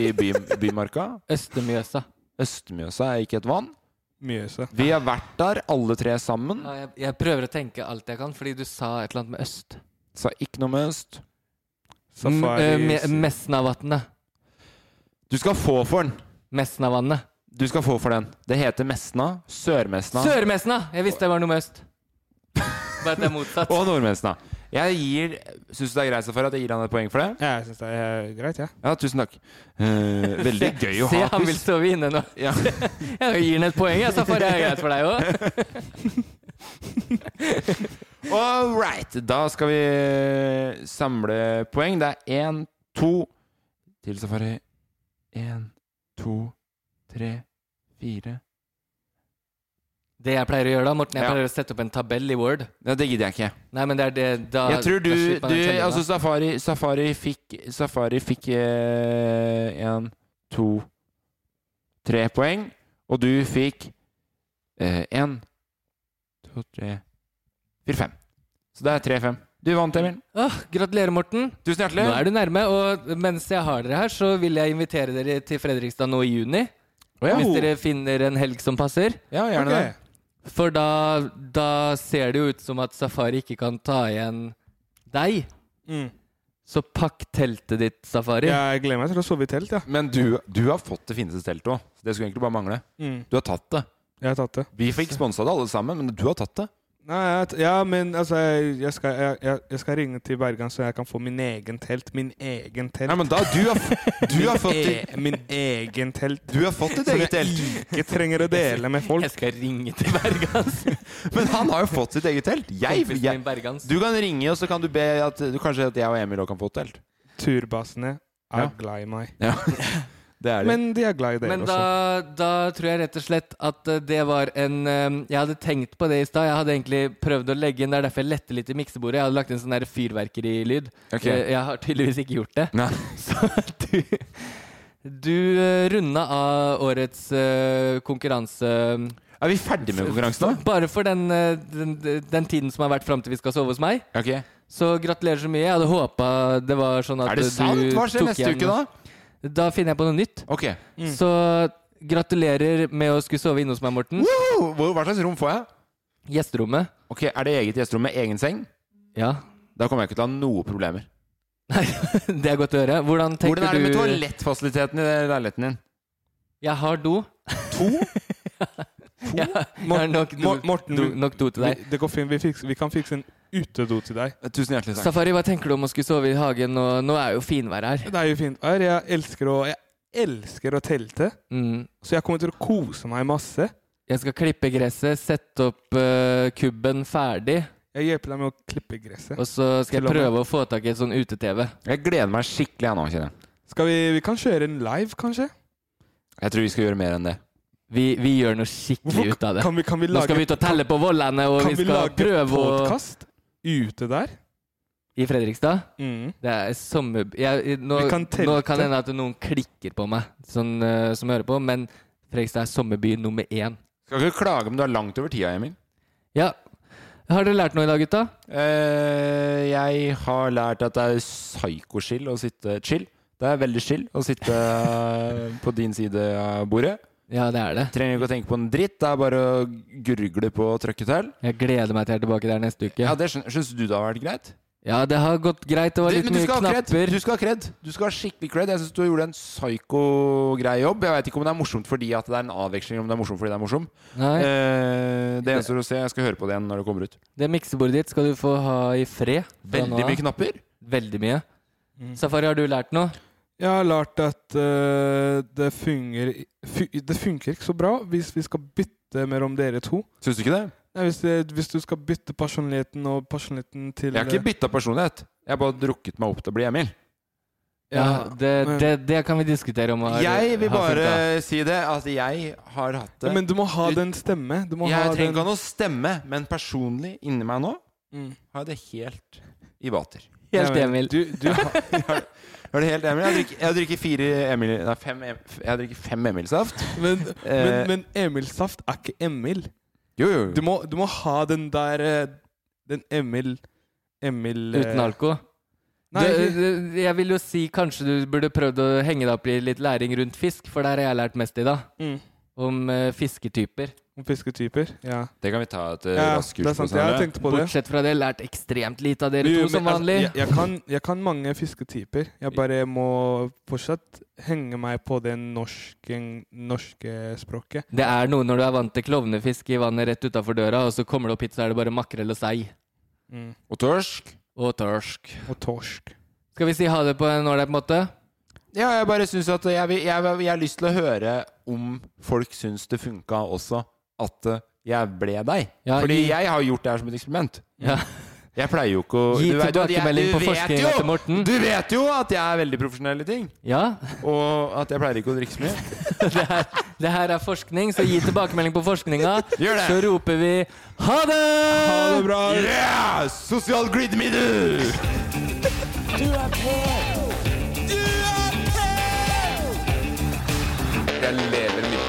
Speaker 2: i by, bymarka.
Speaker 1: Østermjøsa.
Speaker 2: Østmjøsa er ikke et vann.
Speaker 4: Mjøsa.
Speaker 2: Vi har vært der, alle tre sammen.
Speaker 1: Ja, jeg, jeg prøver å tenke alt jeg kan, fordi du sa et eller annet med øst.
Speaker 2: Sa ikke noe med øst.
Speaker 4: Safari
Speaker 1: M- eh, me- Mesnavatnet.
Speaker 2: Du skal få for den.
Speaker 1: Mesnavannet.
Speaker 2: Du skal få for den. Det heter Mesna, Sør-Mesna
Speaker 1: Sør-Mesna! Jeg visste det var noe med øst. Bare at det er motsatt.
Speaker 2: og Nord-Mesna. Jeg gir Syns du det er greit Safari, at jeg gir han et poeng for det?
Speaker 4: Ja, jeg syns det er greit, jeg. Ja.
Speaker 2: Ja, tusen takk. Eh, veldig gøy å
Speaker 1: Se,
Speaker 2: ha
Speaker 1: han vil stå ved inne nå.
Speaker 2: Ja.
Speaker 1: Jeg gir ham et poeng, jeg, så får jeg greit for deg òg.
Speaker 2: All right. Da skal vi samle poeng. Det er én, to til Safari. Én, to, tre, fire
Speaker 1: Det jeg pleier å gjøre da, Morten, jeg
Speaker 2: Ja.
Speaker 1: pleier å sette opp en tabell i Word.
Speaker 2: Ja, Det gidder jeg ikke.
Speaker 1: Nei, men det er det da
Speaker 2: Jeg tror du,
Speaker 1: da slipper man
Speaker 2: du
Speaker 1: den tellinga.
Speaker 2: Altså, Safari, Safari fikk Safari fikk én, to, tre poeng. Og du fikk én, to, tre, fire, fem. Så det er tre-fem. Du vant, Emil.
Speaker 1: Åh, Gratulerer, Morten.
Speaker 2: Tusen hjertelig.
Speaker 1: Nå er du nærme, og mens jeg har dere her, så vil jeg invitere dere til Fredrikstad nå i juni.
Speaker 2: Å, ja.
Speaker 1: Hvis dere finner en helg som passer.
Speaker 2: ja, gjerne det.
Speaker 1: For da, da ser det jo ut som at Safari ikke kan ta igjen deg.
Speaker 4: Mm.
Speaker 1: Så pakk teltet ditt, Safari.
Speaker 4: Jeg gleder meg til å sove i telt, ja.
Speaker 2: Men du, du har fått det fineste teltet òg. Det skulle egentlig bare mangle.
Speaker 4: Mm.
Speaker 2: Du har tatt det.
Speaker 4: Jeg har tatt det.
Speaker 2: Vi fikk sponsa det alle sammen, men du har tatt det.
Speaker 4: Nei, jeg, t- ja, men altså Jeg, jeg, skal, jeg, jeg, jeg skal ringe til Bergan, så jeg kan få min egen telt. Min egen telt.
Speaker 2: Nei, men da, du har, f- du har fått
Speaker 4: e,
Speaker 2: det.
Speaker 4: min egen telt.
Speaker 2: Du har fått ditt
Speaker 4: Som
Speaker 2: eget
Speaker 4: jeg
Speaker 2: telt.
Speaker 4: ikke trenger å dele med folk.
Speaker 1: Jeg skal ringe til Bergans.
Speaker 2: Men han har jo fått sitt eget telt. Jeg,
Speaker 1: Kompisen
Speaker 2: jeg,
Speaker 1: min Bergans.
Speaker 2: du kan ringe, og så kan du be at du, kanskje at jeg og Emil òg kan få telt.
Speaker 4: Turbasene er
Speaker 2: Ja.
Speaker 4: glad i meg.
Speaker 2: Ja. Det er det.
Speaker 4: Men de er glad i dere
Speaker 1: Men
Speaker 4: også.
Speaker 1: da, da tror jeg rett og slett at eh, det var en eh, Jeg hadde tenkt på det i stad. Jeg hadde egentlig prøvd å legge inn Det er derfor jeg lette litt i miksebordet. Jeg hadde lagt inn sånn der fyrverkerilyd.
Speaker 2: Ok.
Speaker 1: Eh, Jeg har tydeligvis ikke gjort det.
Speaker 2: Nei.
Speaker 1: Så du Du eh, runda av årets eh, konkurranse
Speaker 2: Er vi ferdig med konkurransen nå?
Speaker 1: bare for den, eh, den, den tiden som har vært fram til vi skal sove hos meg.
Speaker 2: Ok.
Speaker 1: Så gratulerer så mye. Jeg hadde håpa det var sånn at
Speaker 2: Er det sant? Hva skjer neste uke, da? Mm.
Speaker 1: da? Da finner jeg på noe nytt.
Speaker 2: Ok.
Speaker 1: Så gratulerer med å skulle sove inne hos meg, Morten.
Speaker 2: Woo! Hvor- Hva slags rom får jeg?
Speaker 1: Gjesterommet.
Speaker 2: Ok, Er det eget gjesterom med egen seng?
Speaker 1: Ja.
Speaker 2: Da kommer jeg ikke til å ha noe problemer.
Speaker 1: Nei, det er godt å høre. Hvordan tenker
Speaker 2: Hvordan er det med
Speaker 1: du
Speaker 2: toalettfasiliteten i leiligheten din?
Speaker 1: Jeg har do.
Speaker 2: To?
Speaker 4: do?
Speaker 1: Ja, jeg har nok do-
Speaker 4: Mor- Morten,
Speaker 1: do-
Speaker 4: vi-
Speaker 1: nok do til deg.
Speaker 4: Vi, det går fint. Vi, fikser, vi kan fikse en utedo til deg.
Speaker 2: Tusen hjertelig
Speaker 1: Safari, hær. hva tenker du om å skulle sove i hagen? Og nå er jo finvær her.
Speaker 4: Det er jo fint vær. Jeg elsker å, jeg elsker å telte.
Speaker 1: Mm.
Speaker 4: Så jeg kommer til å kose meg masse.
Speaker 1: Jeg skal klippe gresset, sette opp eh, kubben ferdig,
Speaker 4: Jeg hjelper deg med å klippe gresset.
Speaker 1: og så skal jeg
Speaker 4: Til og med.
Speaker 1: prøve å få tak i et sånn ute-TV.
Speaker 2: Jeg gleder meg skikkelig jeg nå, kjenner jeg.
Speaker 4: Skal vi, vi kan kjøre en live, kanskje?
Speaker 2: Jeg tror vi skal gjøre mer enn det.
Speaker 1: Vi, vi gjør noe skikkelig ut av det.
Speaker 4: Kan vi, kan vi
Speaker 1: Nå skal
Speaker 4: lage,
Speaker 1: vi ut og telle på vollene, og
Speaker 4: kan
Speaker 1: vi
Speaker 4: vi
Speaker 1: skal
Speaker 4: lage
Speaker 1: prøve å
Speaker 4: podkast ute der?
Speaker 1: I Fredrikstad?
Speaker 4: Mm.
Speaker 1: Det er sommer... Jeg, nå,
Speaker 4: Vi kan telte.
Speaker 1: nå kan det hende at noen klikker på meg, sånn, eh, som hører på, men Fredrikstad er sommerby nummer én.
Speaker 2: Skal ikke klage om du er langt over tida, Emil.
Speaker 1: Ja. Har dere lært noe i dag, gutta?
Speaker 2: Eh, jeg har lært at det er psycho-chill å sitte Chill. Det er veldig chill å sitte eh, på din side av bordet.
Speaker 1: Ja, det er det.
Speaker 2: Trenger ikke å tenke på en dritt. Det er bare å gurgle på og trykke til.
Speaker 1: Jeg gleder meg til jeg er tilbake der neste uke.
Speaker 2: Ja, det skjøn- Syns du det har vært greit?
Speaker 1: Ja, det har gått greit. Det var
Speaker 2: Det,
Speaker 1: litt
Speaker 2: men du
Speaker 1: mye
Speaker 2: skal, ha cred.
Speaker 1: knapper.
Speaker 2: du skal ha cred. Du skal ha skikkelig cred. Jeg syns du gjorde en psycho-grei jobb. Jeg veit ikke om det er morsomt fordi at det er en avveksling om det er morsomt fordi det er morsom.
Speaker 1: Nei,
Speaker 2: Eh, det eneste å se, jeg skal høre på det igjen når det kommer ut.
Speaker 1: Det miksebordet ditt skal du få ha i fred. fra nå
Speaker 2: Veldig
Speaker 1: av.
Speaker 2: mye knapper.
Speaker 1: Veldig mye. Safari, har du lært noe?
Speaker 4: Jeg har lært at eh, det, fungerer, fun- det funker ikke så bra hvis vi skal bytte mellom dere to.
Speaker 2: Syns du ikke det?
Speaker 4: Nei, hvis, det, hvis du skal bytte personligheten og personligheten til eh,
Speaker 2: Jeg har ikke bytta personlighet. Jeg har bare drukket meg opp til å bli Emil.
Speaker 1: Ja,
Speaker 4: Ja,
Speaker 1: det,
Speaker 4: men-
Speaker 1: det, det kan vi diskutere om. har-
Speaker 2: Jeg vil
Speaker 1: har
Speaker 2: bare
Speaker 1: funket.
Speaker 2: si det, at jeg har hatt
Speaker 4: Ja,
Speaker 2: det.
Speaker 4: Men du må ha den stemme. Du må
Speaker 2: Jeg
Speaker 4: ha
Speaker 2: trenger
Speaker 4: den
Speaker 2: ikke ha noe stemme, men personlig inni meg nå
Speaker 4: Mm.
Speaker 2: har jeg det helt i vater.
Speaker 4: Ja,
Speaker 1: Helt
Speaker 4: men
Speaker 1: Emil.
Speaker 4: Du, du,
Speaker 2: Er det helt Emil? Jeg drikker, jeg drikker fire Emil Nei, fem, Em- jeg drikker fem Emil-saft.
Speaker 4: men, men,
Speaker 2: Eh.
Speaker 4: men Emil Saft er ikke Emil.
Speaker 2: Jo, jo.
Speaker 4: Du må, du må ha den der eh, Den Emil Emil eh,
Speaker 1: Uten alko.
Speaker 4: Nei,
Speaker 1: du,
Speaker 4: ikke-
Speaker 1: du, jeg vil jo si kanskje du burde prøvd å henge deg opp i litt læring rundt fisk, for der har jeg lært mest i dag.
Speaker 4: Mm.
Speaker 1: Om eh, fisketyper.
Speaker 4: om fisketyper. Ja.
Speaker 2: Det kan vi ta et eh,
Speaker 4: ja, det er sant. Jeg tenkte på det.
Speaker 1: Bortsett fra det, lært ekstremt lite av dere
Speaker 4: Jo,
Speaker 1: to,
Speaker 4: men
Speaker 1: som
Speaker 4: altså,
Speaker 1: vanlig.
Speaker 4: Jeg, jeg, kan, jeg kan mange fisketyper. Jeg bare må fortsatt henge meg på det norske, norske språket.
Speaker 1: Det er noe når du er vant til klovnefisk i vannet rett utafor døra, og så kommer det opp hit, så er det bare makrell og sei.
Speaker 4: Mm.
Speaker 2: Og tørsk.
Speaker 1: Og torsk.
Speaker 4: Og torsk.
Speaker 1: Skal vi si ha det på en ålreit måte?
Speaker 2: Ja, jeg bare syns at jeg, vil- jeg, jeg har lyst til å høre om folk syns det funka også, at eh, jeg ble deg.
Speaker 1: Ja,
Speaker 2: Fordi
Speaker 1: gi-
Speaker 2: jeg har gjort det her som et eksperiment.
Speaker 1: Ja.
Speaker 2: Jeg pleier jo ikke å
Speaker 1: Gi
Speaker 2: Du vet jo at jeg-
Speaker 1: tilbakemelding
Speaker 2: du
Speaker 1: på
Speaker 2: vet
Speaker 1: forskninga
Speaker 2: jo-
Speaker 1: til Morten.
Speaker 2: Du vet jo at jeg er veldig profesjonell i ting,
Speaker 1: Ja,
Speaker 2: og at jeg pleier ikke å drikke så mye.
Speaker 1: det her, det her er forskning, så gi tilbakemelding på forskninga.
Speaker 2: Gjør det.
Speaker 1: Så roper vi ha det!
Speaker 4: Ha det bra!
Speaker 2: Yeah! Sosial grid me, du!
Speaker 3: Du er på! Du er på!
Speaker 5: Jeg lever mitt